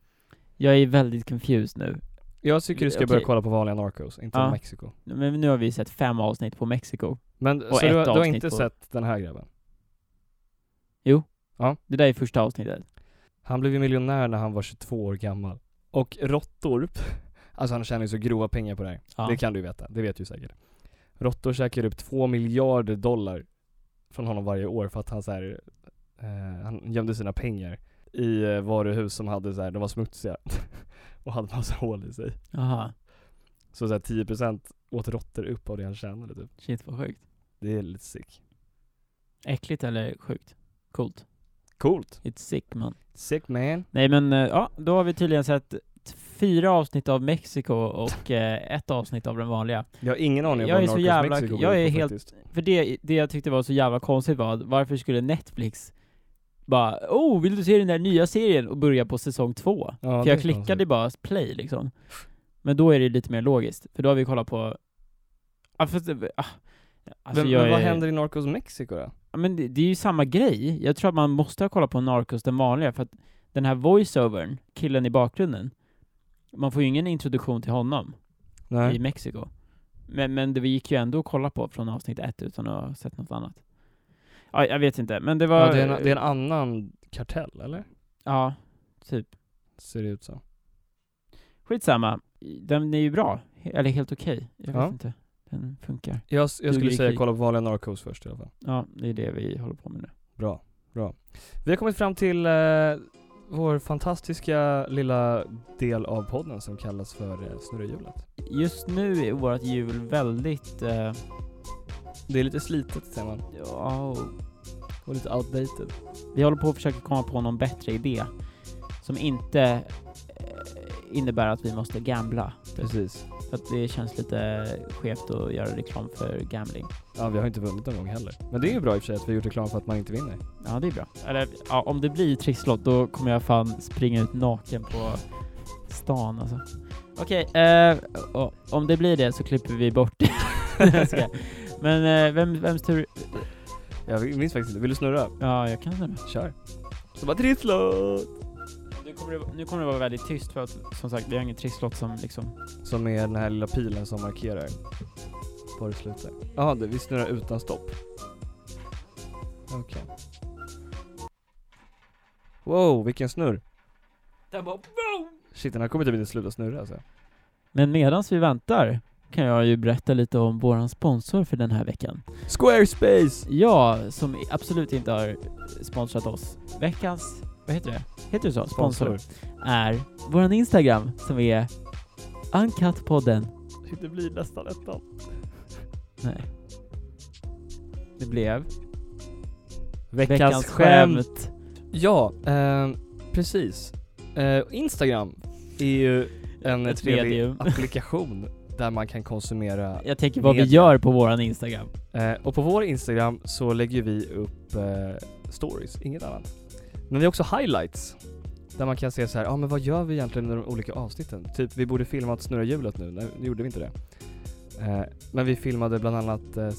[SPEAKER 1] Jag är väldigt confused nu.
[SPEAKER 2] Jag tycker du ska
[SPEAKER 1] Okej.
[SPEAKER 2] börja kolla på vanliga Narcos, inte
[SPEAKER 1] Ja.
[SPEAKER 2] Mexiko.
[SPEAKER 1] Men nu har vi sett fem avsnitt på Mexiko.
[SPEAKER 2] Men
[SPEAKER 1] Och
[SPEAKER 2] så du,
[SPEAKER 1] ett
[SPEAKER 2] har- du har
[SPEAKER 1] avsnitt
[SPEAKER 2] inte
[SPEAKER 1] på-
[SPEAKER 2] sett den här grabben?
[SPEAKER 1] Det där är första avsnittet.
[SPEAKER 2] Han blev ju miljonär när han var 22 år gammal. Och råttor, alltså han tjänar ju så grova pengar på det här.
[SPEAKER 1] Ja.
[SPEAKER 2] Det kan du ju veta, det vet du säkert. Råttor käkar upp två miljarder dollar från honom varje år för att han så här, eh, han gömde sina pengar i eh, varuhus som hade så här, de var smutsiga och hade massa hål i sig.
[SPEAKER 1] Aha.
[SPEAKER 2] Så, så här 10% åt råttor upp av det han tjänade typ.
[SPEAKER 1] Shit vad sjukt.
[SPEAKER 2] Det är lite sick.
[SPEAKER 1] Äckligt eller sjukt? Coolt.
[SPEAKER 2] Coolt!
[SPEAKER 1] It's sick man.
[SPEAKER 2] Sick man!
[SPEAKER 1] Nej men eh, ja, då har vi tydligen sett t- fyra avsnitt av Mexiko och eh, ett avsnitt av den vanliga.
[SPEAKER 2] Jag har ingen aning om
[SPEAKER 1] Jag
[SPEAKER 2] vad
[SPEAKER 1] är så
[SPEAKER 2] Narcos
[SPEAKER 1] jävla-
[SPEAKER 2] Mexico
[SPEAKER 1] jag
[SPEAKER 2] går
[SPEAKER 1] är
[SPEAKER 2] på
[SPEAKER 1] helt-
[SPEAKER 2] faktiskt.
[SPEAKER 1] För det, det jag tyckte var så jävla konstigt var att varför skulle Netflix bara oh, vill du se den där nya serien och börja på säsong två?
[SPEAKER 2] Ja,
[SPEAKER 1] för
[SPEAKER 2] det
[SPEAKER 1] jag
[SPEAKER 2] är
[SPEAKER 1] klickade
[SPEAKER 2] konstigt.
[SPEAKER 1] bara play liksom. Men då är det lite mer logiskt, för då har vi kollat på... Ja, fast, det- ah, alltså
[SPEAKER 2] men,
[SPEAKER 1] jag
[SPEAKER 2] men vad
[SPEAKER 1] är-
[SPEAKER 2] händer i Narcos Mexico då?
[SPEAKER 1] Ja, Men det, det är ju samma grej. Jag tror att man måste ha kollat på Narcos, den vanliga, för att den här voiceovern, killen i bakgrunden, man får ju ingen introduktion till honom i Mexiko. Men, men det gick ju ändå att kolla på från avsnitt ett utan att ha sett något annat. Ja, jag vet inte, men det var...
[SPEAKER 2] Ja, det, är en, det är en annan kartell, eller?
[SPEAKER 1] ja, typ.
[SPEAKER 2] Ser det ut så.
[SPEAKER 1] Skitsamma. Den är ju bra. He- Eller helt okej. Jag vet
[SPEAKER 2] Ja.
[SPEAKER 1] inte. Den funkar.
[SPEAKER 2] Jag, jag skulle
[SPEAKER 1] Duger i
[SPEAKER 2] säga
[SPEAKER 1] krig.
[SPEAKER 2] kolla på vanliga Narcos först i alla fall.
[SPEAKER 1] Ja, det är det vi håller på med nu.
[SPEAKER 2] Bra, bra. Vi har kommit fram till eh, vår fantastiska lilla del av podden som kallas för eh, Snurrhjulet.
[SPEAKER 1] Just nu är vårt jul väldigt... eh,
[SPEAKER 2] Det är lite slitet ser man,
[SPEAKER 1] ja,
[SPEAKER 2] och lite outdated.
[SPEAKER 1] Vi håller på att försöka komma på någon bättre idé som inte eh, innebär att vi måste gambla.
[SPEAKER 2] Precis.
[SPEAKER 1] För att det känns lite skevt att göra reklam för gambling.
[SPEAKER 2] Ja, vi har inte vunnit någon gång heller. Men det är ju bra i och för sig att vi har gjort reklam för att man inte vinner.
[SPEAKER 1] Ja, det är bra. Eller ja, om det blir trisslott då kommer jag fan springa ut naken på stan alltså. Okej, eh, och om det blir det så klipper vi bort det. Jag skojar. Men eh, vem, vems tur...
[SPEAKER 2] Jag minns faktiskt inte. Vill du snurra?
[SPEAKER 1] Ja, jag kan snurra.
[SPEAKER 2] Kör. Så bara trisslott!
[SPEAKER 1] Nu kommer, det, nu kommer det vara väldigt tyst för att som sagt, vi har ingen trisslott som liksom...
[SPEAKER 2] Som är den här lilla pilen som markerar var det slutar. Jaha, det- vi snurrar utan stopp. Okej. Wow, vilken snurr.
[SPEAKER 1] Den bara...
[SPEAKER 2] Shit, den här kommer typ inte sluta snurra alltså.
[SPEAKER 1] Men medan vi väntar kan jag ju berätta lite om våran sponsor för den här veckan.
[SPEAKER 2] Squarespace!
[SPEAKER 1] Ja, som i- absolut inte har sponsrat oss. Veckans, vad heter det? Heter det så? Sponsor. Är våran Instagram som är Uncut-podden.
[SPEAKER 2] Det blir nästan ettan.
[SPEAKER 1] Nej. Det blev
[SPEAKER 2] Veckans,
[SPEAKER 1] veckans
[SPEAKER 2] skämt.
[SPEAKER 1] skämt.
[SPEAKER 2] Ja, ehm, precis. Eh, Instagram är ju en
[SPEAKER 1] Ett
[SPEAKER 2] trevlig
[SPEAKER 1] medium.
[SPEAKER 2] applikation där man kan konsumera
[SPEAKER 1] Jag tänker vad vi
[SPEAKER 2] Media.
[SPEAKER 1] gör på våran Instagram.
[SPEAKER 2] Eh, och på vår Instagram så lägger vi upp eh, stories, inget annat. Men det är också highlights. Där man kan se så här, ja ah, men vad gör vi egentligen i de olika avsnitten? Typ vi borde filma att snurra hjulet nu, nej nu gjorde vi inte det. Eh, men vi filmade bland annat eh,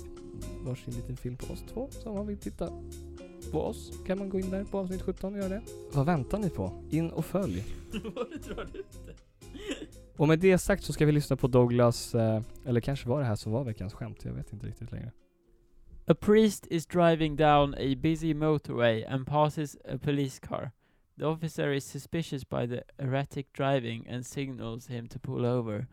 [SPEAKER 2] varsin liten film på oss två, så om man vill titta på oss kan man gå in där på avsnitt 17 och göra det. Vad väntar ni på? In och följ.
[SPEAKER 1] Vad du drar ut det.
[SPEAKER 2] Och med det sagt så ska vi lyssna på Douglas, eh, eller kanske var det här som var veckans skämt, jag vet inte riktigt längre.
[SPEAKER 1] A priest is driving down a busy motorway and passes a police car. The officer is suspicious by the erratic driving and signals him to pull over.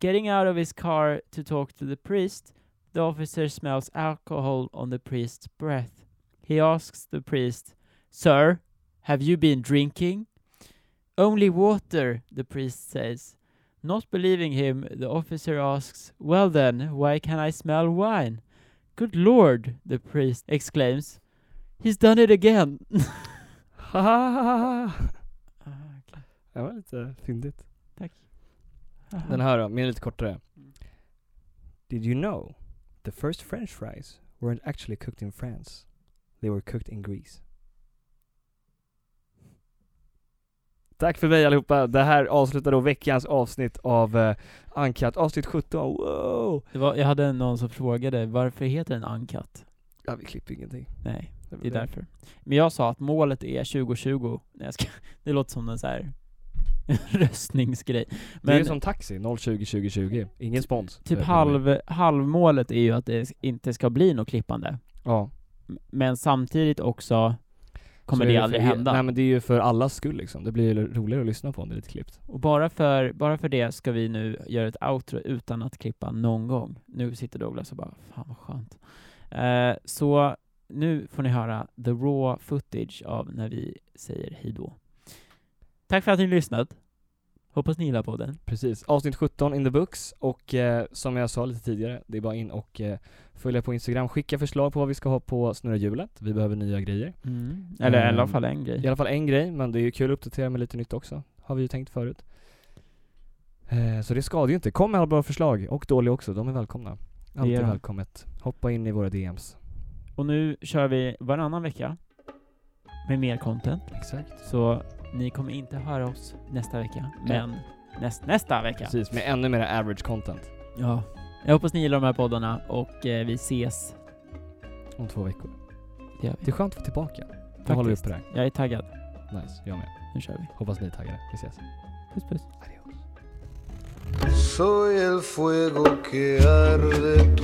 [SPEAKER 1] Getting out of his car to talk to the priest, the officer smells alcohol on the priest's breath. He asks the priest, Sir, have you been drinking? Only water, the priest says. Not believing him, the officer asks, Well then, why can I smell wine? Good lord, the priest exclaims. He's done it again.
[SPEAKER 2] Hahaha. Det var lite fyndigt.
[SPEAKER 1] Tack.
[SPEAKER 2] Den här då, min är lite kortare. Did you know the first french fries weren't actually cooked in France? They were cooked in Greece. Tack för mig allihopa. Det här avslutar då veckans avsnitt av uh, Uncut, avsnitt 17. Wow!
[SPEAKER 1] Det var, jag hade någon som frågade varför heter den Uncut?
[SPEAKER 2] Ja, vi klipper ingenting.
[SPEAKER 1] Nej,
[SPEAKER 2] väl
[SPEAKER 1] det är därför. Men jag sa att målet är 2020. Nej, jag ska, det låter som en så här röstningsgrej.
[SPEAKER 2] det är
[SPEAKER 1] Men
[SPEAKER 2] ju som taxi, 020-2020. Ingen spons.
[SPEAKER 1] typ
[SPEAKER 2] Eh,
[SPEAKER 1] halv, halvmålet är ju att det inte ska bli något klippande.
[SPEAKER 2] Ja.
[SPEAKER 1] M- Men samtidigt också kommer
[SPEAKER 2] Så
[SPEAKER 1] det
[SPEAKER 2] är
[SPEAKER 1] aldrig
[SPEAKER 2] för,
[SPEAKER 1] hända.
[SPEAKER 2] Nej men det är ju för allas skull liksom. Det blir ju roligare att lyssna på om det är lite klippt.
[SPEAKER 1] Och bara för, bara för det ska vi nu göra ett outro utan att klippa någon gång. Nu sitter Douglas och bara, fan vad skönt. Eh, så nu får ni höra the raw footage av när vi säger hejdå. Tack för att ni har lyssnat. Hoppas ni gillar podden.
[SPEAKER 2] Precis. Avsnitt 17 in the books och eh, som jag sa lite tidigare, det är bara in och eh, följa på Instagram. Skicka förslag på vad vi ska ha på Snurra Hjulet. Vi behöver nya grejer.
[SPEAKER 1] Eller i
[SPEAKER 2] Mm.
[SPEAKER 1] alla fall en grej.
[SPEAKER 2] I alla fall en grej, men det är ju kul att uppdatera med lite nytt också. Har vi ju tänkt förut. Eh, så det skadar ju inte. Kom med alla bra förslag och dåliga också. De är välkomna. Alltid
[SPEAKER 1] är de.
[SPEAKER 2] välkommet. Hoppa in i våra DMs.
[SPEAKER 1] Och nu kör vi varannan vecka med mer content.
[SPEAKER 2] Exakt.
[SPEAKER 1] Så ni kommer inte höra oss nästa vecka, men näst, nästa vecka.
[SPEAKER 2] Precis, med ännu mer average content
[SPEAKER 1] Ja. Jag hoppas ni gillar de här poddarna och eh, vi ses.
[SPEAKER 2] om två veckor.
[SPEAKER 1] Det gör vi.
[SPEAKER 2] Det är skönt att vara tillbaka. Då håller vi uppe det här.
[SPEAKER 1] Jag är taggad.
[SPEAKER 2] Nice, jag med.
[SPEAKER 1] Nu kör vi.
[SPEAKER 2] Hoppas ni är taggade. Vi ses.
[SPEAKER 1] Puss puss.
[SPEAKER 11] Soy el fuego que arde